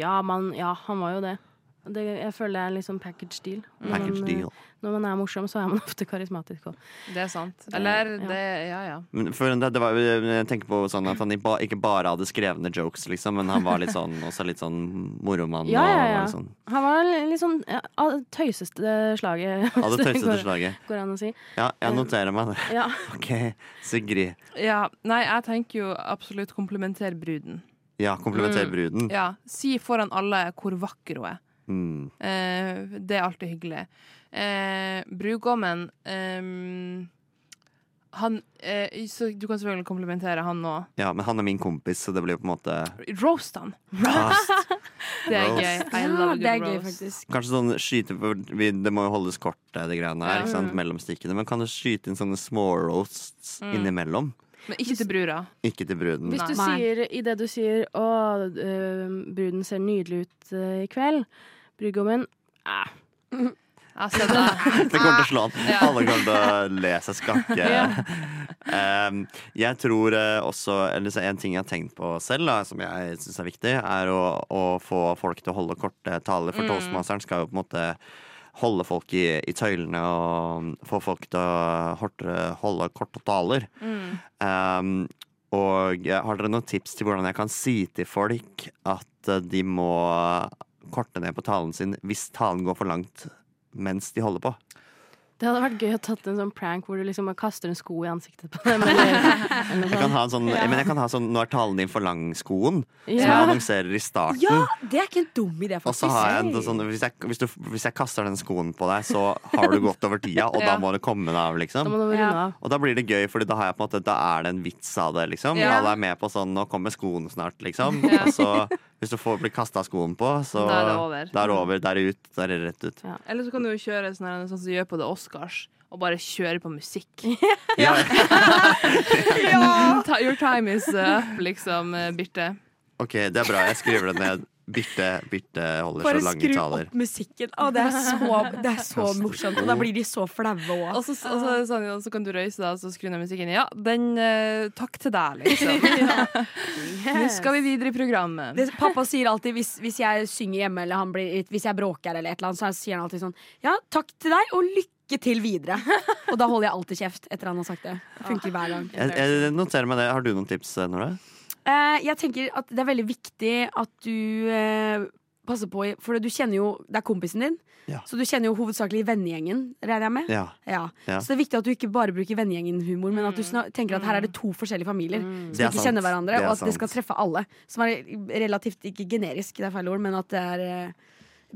Ja, man, ja, han var jo det. det. Jeg føler det er en litt sånn package deal. Når Package man, eh, deal. Når man er morsom, så er man [laughs] ofte karismatisk òg. Det er sant. Eller Ja. det Ja, ja. Men For det, det var, jo- jeg tenker på sånn at han i ba- ikke bare hadde skrevne jokes, liksom, men han var litt [laughs] sånn, også litt sånn moromann. Ja, ja, og ja. var litt Sånn, Han var li- litt sånn ja, av det tøyseste slaget. hadde [laughs] [laughs] hvis det tøysete går, slaget. går an å si. Ja, jeg noterer meg det. Ja. [laughs] OK, Sigrid. ja. Nei, jeg tenker jo absolutt komplementer bruden. Ja, komplimenter Mm. bruden. Ja. Si foran alle hvor vakker hun er. Mm. Eh, det er alltid hyggelig. Eh, brudgommen ehm, Han eh, Så du kan selvfølgelig komplimentere han nå. Ja, men han er min kompis, så det blir på en måte Roast han! fast. Det er Roast. gøy. I Ja, love a det er good gøy, roast. faktisk. Kanskje sånn skyte for vi, Det må jo holdes kort, eh, det greiene her, Ja. ikke sant? mellom stikkene. Men kan du skyte inn sånne små roasts innimellom? Men ikke til brura. Ikke til bruden. Hvis du Nei. sier i det du sier 'Å, eh, bruden ser nydelig ut eh, i kveld', brudgommen eh, Jeg har sett det. Det kommer til å slå an. Ja. Alle kommer til å le seg skakke. Em, jeg tror eh, også eller så En ting jeg har tenkt på selv, da, som jeg syns er viktig, er å, å få folk til å holde korte taler. For Mm. toastmasteren skal jo på en måte holde folk i, i tøylene og få folk til å horte- holde korte taler. Mm. Em, og eh, har dere noen tips til hvordan jeg kan si til folk at eh, de må korte ned på talen sin hvis talen går for langt mens de holder på? Det hadde vært gøy å tatt en sånn prank hvor du liksom bare kaster en sko i ansiktet på dem. eller- eller Jeg kan ha en sånn, Ja. Men jeg kan ha sånn Nå er talen din for lang-skoen, som jeg Ja. annonserer i starten. Ja, det er ikke en dum idé, Og faktisk. så har jeg en sånn hvis jeg, hvis, du, hvis jeg kaster den skoen på deg, så har du gått over tida, [laughs] og da Ja. må du komme deg av, liksom. Da må du runde Ja. av. Og da blir det gøy, for da, har jeg på en måte, da er det en vits av det, liksom. Ja. Alle er med på sånn 'nå kommer skoen snart', [laughs] liksom. Ja. Og så hvis du får blir kasta skoen på, så Da er det over. Da er det over. Da er det ut. Da er det rett ut. Eller så kan du jo kjøre sånn, her, sånn som du gjør på The Oscars, og bare kjøre på musikk. ja! [laughs] Ta- Your time is up, liksom, eh, Birte. [laughs] OK, det er bra. Jeg skriver det ned. Birte, Birte holder Bare så lange skru taler. opp musikken. Å, det er så, det er så morsomt. Og da blir de så flaue òg. Og så, og så, er det sånn, og så kan du røyse deg og så skru ned musikken. Ja, den eh, Takk til deg, liksom. Nå skal vi videre i programmet. Det, pappa sier alltid hvis, hvis jeg synger hjemme eller han blir, hvis jeg bråker, eller et eller annet, så sier han alltid sånn Ja, takk til deg, og lykke til videre. Og da holder jeg alltid kjeft etter han har sagt det. Funker hver gang. Jeg, jeg noterer meg det. Har du noen tips, eh, Nora? Eh, jeg tenker at det er veldig viktig at du eh, passer på i- For du kjenner jo Det er kompisen din, så du kjenner jo hovedsakelig vennegjengen, regner jeg med. Ja. Ja. Så det er viktig at du ikke bare bruker vennegjengen-humor, men at du snak- tenker at her er det to forskjellige familier Mm. Det som er ikke sant. kjenner hverandre, Det er og at det skal sant. treffe alle. Som er relativt ikke generisk, det er feil ord, men at det er eh,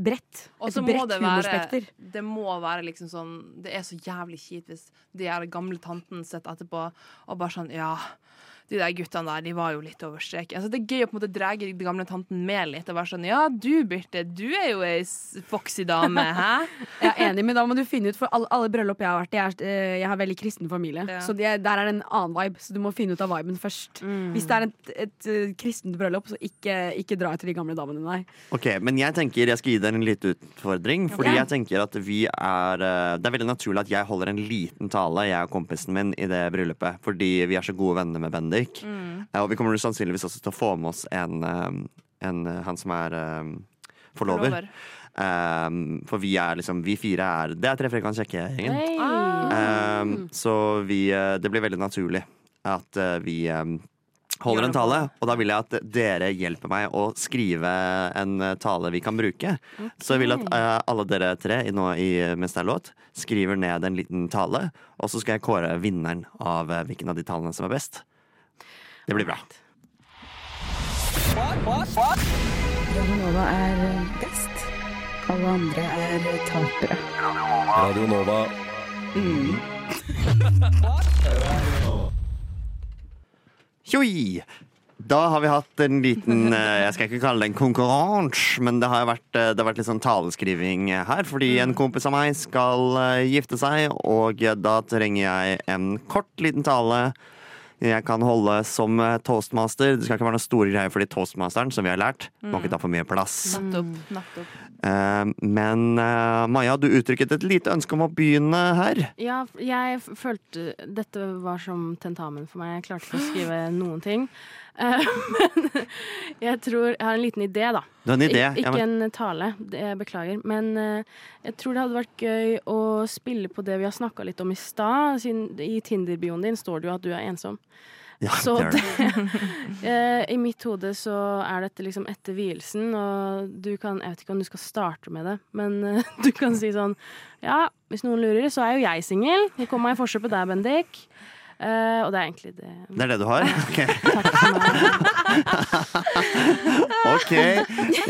bredt. Og Et så må bredt det være, humorspekter. det må være liksom sånn Det er så jævlig kjipt hvis de her gamle tanten sitter etterpå og bare sånn Ja, de der guttene der, de var jo litt over streken. Altså, det er gøy å på en måte dra de gamle tanten med litt og være sånn Ja, du Birte, du er jo ei s- foxy dame, hæ? Jeg er enig, men da må du finne ut For alle, alle bryllup jeg har vært i, jeg, er, eh, jeg har veldig kristen familie. Ja. Så det, der er det en annen vibe, så du må finne ut av viben først. Mm. Hvis det er et, et eh, kristent bryllup, så ikke, ikke dra etter de gamle damene, nei. Ok, men jeg tenker jeg skal gi dere en liten utfordring. Fordi Ok. jeg tenker at vi er eh, Det er veldig naturlig at jeg holder en liten tale, jeg og kompisen min, i det bryllupet. Fordi vi er så gode venner med Bendik. Mm. Eh, Og vi kommer sannsynligvis også til å få med oss en, eh, en eh, han som er eh, forlover. Forlover. Eh, for vi er liksom Vi fire er Det er Tre frekans kjekke-gjengen. Ah. Mm. Um, så vi, eh, det blir veldig naturlig at eh, vi eh, Gjør holder det en tale. Og da vil jeg at dere hjelper meg å skrive en eh, tale vi kan bruke. Så jeg vil at eh, alle dere tre i- nå i, eh, mens det er låt, skriver ned en liten tale. Og så skal jeg kåre vinneren av eh, hvilken av de talene som er best. Det blir bra. Radio Nova er best. Alle andre er tapere. Radio Nova. Tjoi! Da har vi hatt en [laughs] liten eh, Jeg skal ikke kalle det en konkurranse, men det har jo vært, eh, det har vært litt sånn taleskriving her. Fordi en Mm. kompis av meg skal eh, gifte seg, og eh, da trenger jeg en kort, liten tale. Jeg kan holde som eh, toastmaster. Det skal ikke være noen store greier, fordi toastmasteren, som vi har lært, må Mm. ikke ta for mye plass. Nettopp. nettopp. Eh, Men eh, Maja, du uttrykket et lite ønske om å begynne her. Ja, f- jeg f- følte Dette var som tentamen for meg. Jeg klarte ikke å skrive noen ting. Eh, Men jeg tror Jeg har en liten idé, da. Du har en idé, ja, Ik- Ikke men- en tale, det- jeg beklager. Men eh, jeg tror det hadde vært gøy å spille på det vi har snakka litt om i stad. siden I Tinder-bioen din står det jo at du er ensom. Ja, Så det er [laughs] Eh, I mitt hode så er dette liksom etter vielsen, og du kan Jeg vet ikke om du skal starte med det, men eh, [laughs] du kan si sånn Ja, hvis noen lurer, så er jo jeg singel. Det kom meg i forskjell på deg, Bendik. Eh, og det er egentlig det. Det er det [laughs] du har? Ok. [laughs] ok.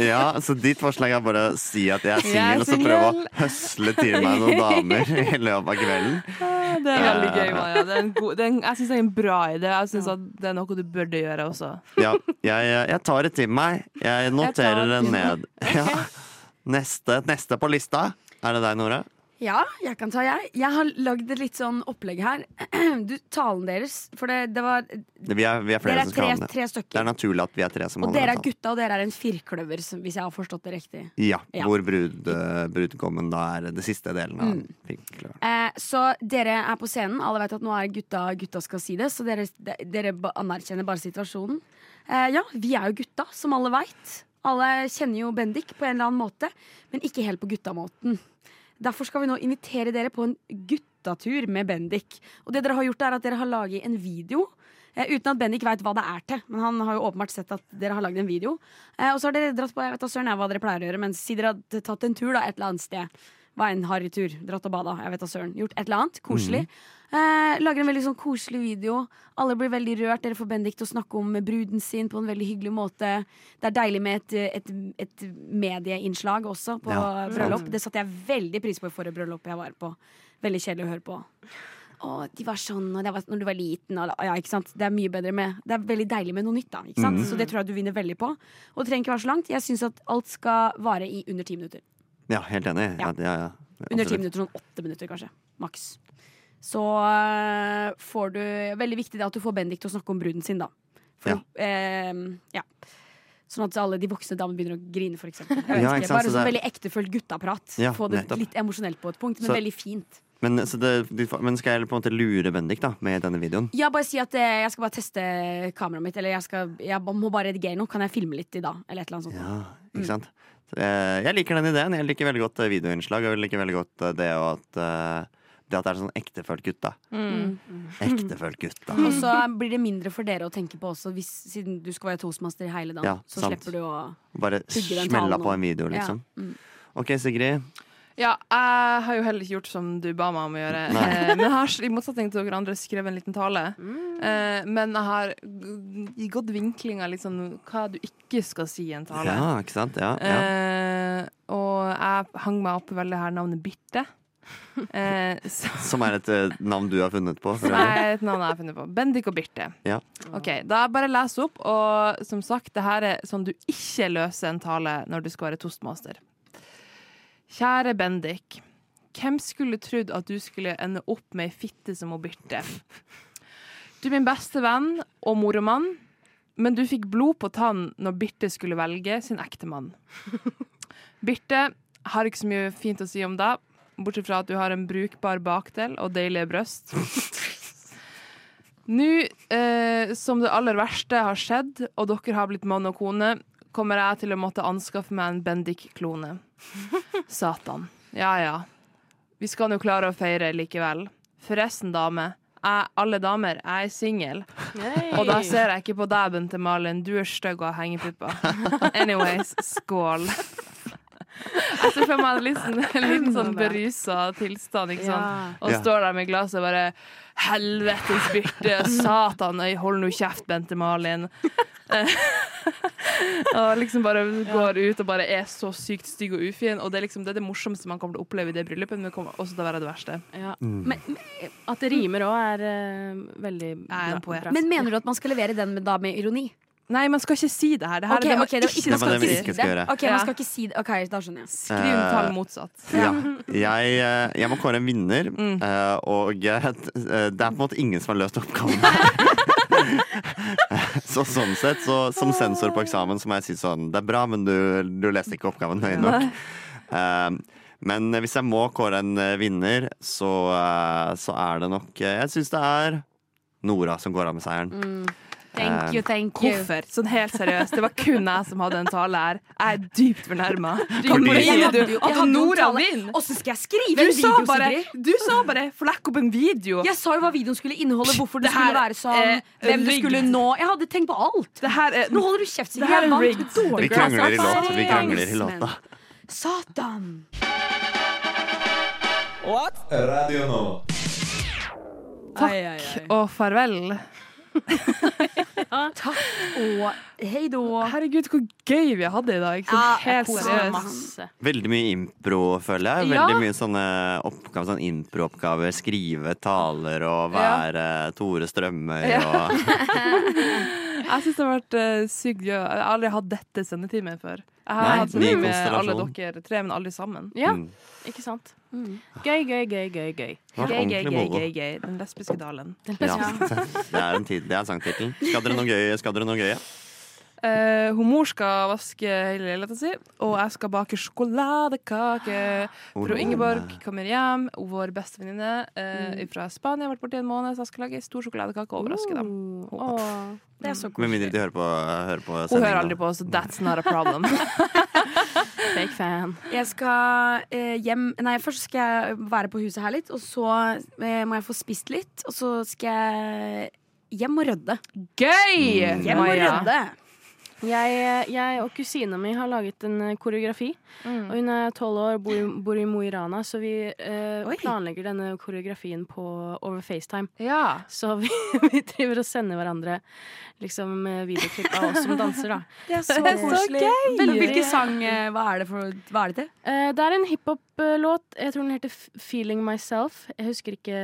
Ja, så ditt forslag er bare å si at jeg er Jeg er singel, og så prøve å singel. høsle til meg noen [laughs] damer i løpet av kvelden. Det er veldig gøy, Maja. Det er en god, det er en, jeg syns det er en bra idé. Jeg synes at Det er noe du burde gjøre også. Ja, jeg, jeg tar det til meg. Jeg Jeg tar noterer det det til meg. ned. Ja. Neste, neste på lista. Er det deg, Nora? Ja, jeg kan ta jeg. Jeg har lagd et litt sånn opplegg her. [clears throat] Du, Talen deres, for det, det var Vi er, vi er flere Dere er som skal tre- ha den. tre stykker. Det er altså. naturlig at vi er tre som Og holder dere er den. gutta, og dere er en firkløver, som- hvis jeg har forstått det riktig. Ja, Ja. hvor brud, eh, brudgommen da er det siste delen av Mm. finkløveren. Eh, så dere er på scenen. Alle vet at nå er gutta gutta skal si det, så dere, de- dere ba- anerkjenner bare situasjonen. Eh, ja, vi er jo gutta, som alle veit. Alle kjenner jo Bendik på en eller annen måte, men ikke helt på guttamåten. Derfor skal vi nå invitere dere på en guttatur med Bendik. Og det dere har gjort er at dere har laget en video. eh, Uten at Bendik vet hva det er til, men han har jo åpenbart sett at dere har lagd en video. Eh, og så har dere dratt på jeg vet da søren jeg hva dere pleier å gjøre, men si dere hadde tatt en tur da, et eller annet sted. Var en harry tur. Dratt og bada. Jeg vet da søren. Gjort et eller annet. Koselig. Eh, lager en veldig sånn koselig video. Alle blir veldig rørt. Dere får Bendik til å snakke om bruden sin på en veldig hyggelig måte. Det er deilig med et, et, et medieinnslag også på Ja, bryllup. sant. Det satte jeg veldig pris på i forrige bryllup jeg var på. Veldig kjedelig å høre på. Å, de var sånn og det var, når du var liten. Og, ja, ikke sant? Det er mye bedre med Det er veldig deilig med noe nytt, da. Ikke sant? Mhm. Så det tror jeg du vinner veldig på. Og det trenger ikke være så langt. Jeg syns at alt skal vare i under ti minutter. Ja, helt enig. Ja. Ja, ja, Under ti Absolutt. minutter, sånn åtte minutter kanskje. Maks. Så øh, får du Veldig viktig det at du får Bendik til å snakke om bruden sin, da. For, ehm, ja. Sånn at alle de voksne damene begynner å grine, for eksempel. Jeg vet [laughs] Ja, ikke, ikke sant, så Bare sånn det veldig er- ektefølt guttaprat. Ja, Få det nettopp. litt emosjonelt på et punkt, men Så- veldig fint. Men, så det, de, men skal jeg på en måte lure Bendik da, med denne videoen? Ja, bare si at eh, jeg skal bare teste kameraet mitt, eller jeg, skal, jeg ba- må bare redigere noe. Kan jeg filme litt i dag? Eller et eller annet sånt. Ja, Mm. ikke sant? Eh, Jeg liker den ideen. Jeg liker veldig godt eh, videoinnslag, og jeg liker veldig godt eh, det og at eh, det at det er sånn ektefølt gutt, da. Mm. Ektefølt gutt, da. Og så blir det mindre for dere å tenke på også, hvis, siden du skal være toastmaster i hele dagen. Ja, så sant. slipper du å [laughs] Bare pugge den smella talen på og- en video, liksom. Ja. Mm. OK, Sigrid. Ja, jeg har jo heller ikke gjort som du ba meg om å gjøre. Nei. Eh, Men jeg har i motsetning til dere andre skrevet en liten tale. Eh, Men jeg har g- gått vinklinga litt sånn hva du ikke skal si i en tale. Ja, ikke sant? Ja, ja. Eh, og jeg hang meg opp i veldig her navnet [laughs] Birte. Eh, så- Som er et eh, navn du har funnet på? som for øvrig. er et navn jeg har funnet på. Bendik og Birte. Ja. Mm. Ok, Da bare les opp, og som sagt, det her er sånn du ikke løser en tale når du skal være toastmaster. Kjære Bendik. Hvem skulle trodd at du skulle ende opp med ei fitte som hun Birte? Du er min beste venn og moromann, men du fikk blod på tann når Birte skulle velge sin ektemann. Birte, har ikke så mye fint å si om deg, bortsett fra at du har en brukbar bakdel og deilige bryst. Nå eh, som det aller verste har skjedd, og dere har blitt mann og kone, kommer jeg til å måtte anskaffe meg en Bendik-klone. Satan. Ja ja. Vi skal nå klare å feire likevel. Forresten, dame. Jeg, alle damer, jeg er singel. Og da ser jeg ikke på deg, Bente Malin. Du er stygg og har hengepupper. Anyways, skål. Jeg ser for meg en liten, en liten sånn berusa tilstand, ikke sant. Og Ja. står der med glasset og bare Helvetes byrte! Satan! Øy, hold nå kjeft, Bente Malin. [laughs] Eh, og liksom bare går ut og bare er så sykt stygg og ufin. Og det er liksom det, er det morsomste man kommer til å oppleve i det bryllupet, men det kommer også til å være det verste. Mm. Men, At det rimer òg, er eh, veldig en bra. poet. bra. Men mener du at man skal levere den med, da med ironi? Nei, man skal ikke si det her. Det her er Ok, det man ok, det var ikke ikke- Det var det vi ikke skal gjøre. Ok, man skal ikke si det. Ok, da skjønner jeg. Skriv en tall motsatt. Ja. Jeg, eh, jeg må kåre en vinner, Mm. eh, og eh, [laughs] t- eh, det er på en måte ingen som har løst oppgaven. så sånn sett, så, som sensor på eksamen, så må jeg si sånn Det er bra, men du, du leste ikke oppgaven høye nok. Eh, men hvis jeg må kåre en eh, vinner, så, eh, så er det nok eh, Jeg syns det er Nora som går av med seieren. Mm. Thank Eh, you, thank you. Hvorfor? Sånn helt seriøst. Det var kun jeg som hadde en tale her. Jeg er dypt fornærma. Fordi- Sier du Jeg hadde jo- jeg at hadde jo Nora tale. vinner? Åssen skal jeg skrive Du en sa video, bare, Sigrid? du sa bare 'flekk opp en video'. Jeg sa jo hva videoen skulle inneholde, hvorfor det, Det her eh, skulle være sånn, er hvem det rigged. skulle nå. Jeg hadde tenkt på alt. Nå holder du det kjeft, Sigrid. her Jeg er vant rigged. med dårlig Vi krangler i klasse. låta. Vi krangler i låta. Satan. What? Radio nå. Takk og farvel. Takk og hei då. Herregud, hvor gøy vi hadde i dag. Sånn Ja, helt jeg koser meg seriøst. masse. Veldig mye impro, føler jeg. Ja. Veldig mye sånne oppgaver, sånn impro-oppgaver. Skrive taler og være Tore Strømøy Ja. og [laughs] Jeg syns det har vært eh, sykt gøy. Jeg har aldri hatt dette sendetimen før. Jeg har Nei, hatt ny sex med alle konstellasjon. dere tre, men alle sammen. Ja, Mm. ikke sant? Mm. Gøy, gøy, gøy, gøy. gøy. var Gøy, gøy, ordentlig gøy, moro. gøy, gøy. Den lesbiske dalen. Ja, det er en, tid- det er en sangtittel. Skal dere noe gøy? Skal dere noe gøy? Eh, hun mor skal vaske hele leiligheten sin, og jeg skal bake sjokoladekake. Oh, Fru no. Ingeborg kommer hjem, vår beste venninne eh, Mm. fra Spania har vært borte i en måned, så jeg skal lage ei stor sjokoladekake og overraske dem. det er så Med mindre de hører på, hører på Hun sendingen hører nå. aldri på, så that's not a [laughs] problem. [laughs] Fake fan. Jeg skal eh, hjem Nei, først skal jeg være på huset her litt, og så eh, må jeg få spist litt. Og så skal jeg hjem og rydde. Mm. Gøy! Hjem og rydde. Jeg, jeg og kusina mi har laget en eh, koreografi. Mm. Og hun er tolv år, bor, i- bor i Mo i Rana, så vi eh, planlegger denne koreografien på, over FaceTime. Ja. Så vi, [laughs] vi driver og sender hverandre liksom, eh, videoklipp av oss som danser, da. Det er så Det er så koselig. gøy. Men hvilken sang eh, Hva er det, for, hva er det til? Eh, det er en hiphop-låt. Jeg tror den heter F- 'Feeling Myself'. Jeg husker ikke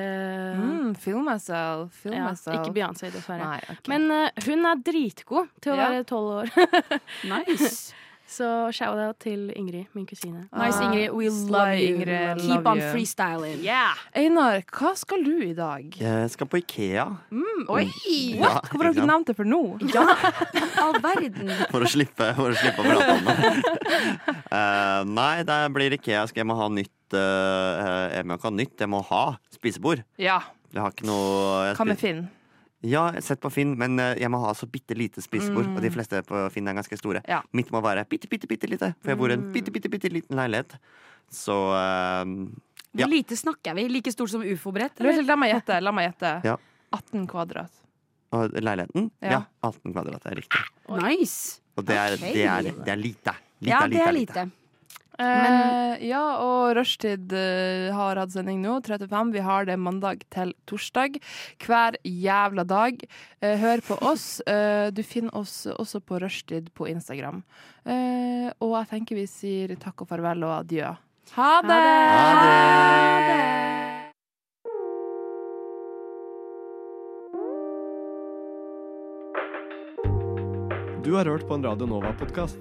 Mm, feel myself. Feel ja, myself. Ikke Beyoncé, dessverre. Nei, ok. Men eh, hun er dritgod til å Ja. være tolv år. [laughs] Nice. Så shout-out til Ingrid, min kusine. [laughs] Nice, Ingrid. We Sly love you. Ingrid, love Keep on you. freestyling. Einar, hva skal du i dag? Jeg skal på Ikea. Mm, oi! Ja, What? Hvorfor har ikke dere sant? nevnt det for nå? All verden. For å slippe, for å slippe å prate om [laughs] det. Eh, nei, det blir Ikea. Skal jeg må ha nytt eh, Jeg må ikke ha nytt, jeg må ha spisebord. Ja. Jeg har ikke noe jeg Hva med spiser- Finn? Ja, jeg har sett på Finn, men eh, jeg må ha så bitte lite spisebord. Og de Mm. fleste på Finn er ganske store. Ja. Mitt må være bitte, bitte, bitte lite, for jeg bor i en bitte, bitte, bitte liten leilighet. Så eh, Ja. Hvor lite snakker vi? Like stort som ufo-brett? Eller, La meg gjette. La meg gjette. Ja. 18 kvadrat. og leiligheten? Ja. Ja. 18 kvadrat, det er riktig. Nice. Og det er, Ok. det er, det er lite. Lite, Ja, det er lite. eh, ja, og rushtid eh, har hatt sending nå. 35. Vi har det mandag til torsdag. Hver jævla dag. Eh, hør på [laughs] oss. Eh, du finner oss også på rushtid på Instagram. Eh, og jeg tenker vi sier takk og farvel og adjø. Ha det! Ha det! Du har hørt på en Radio Nova-podkast.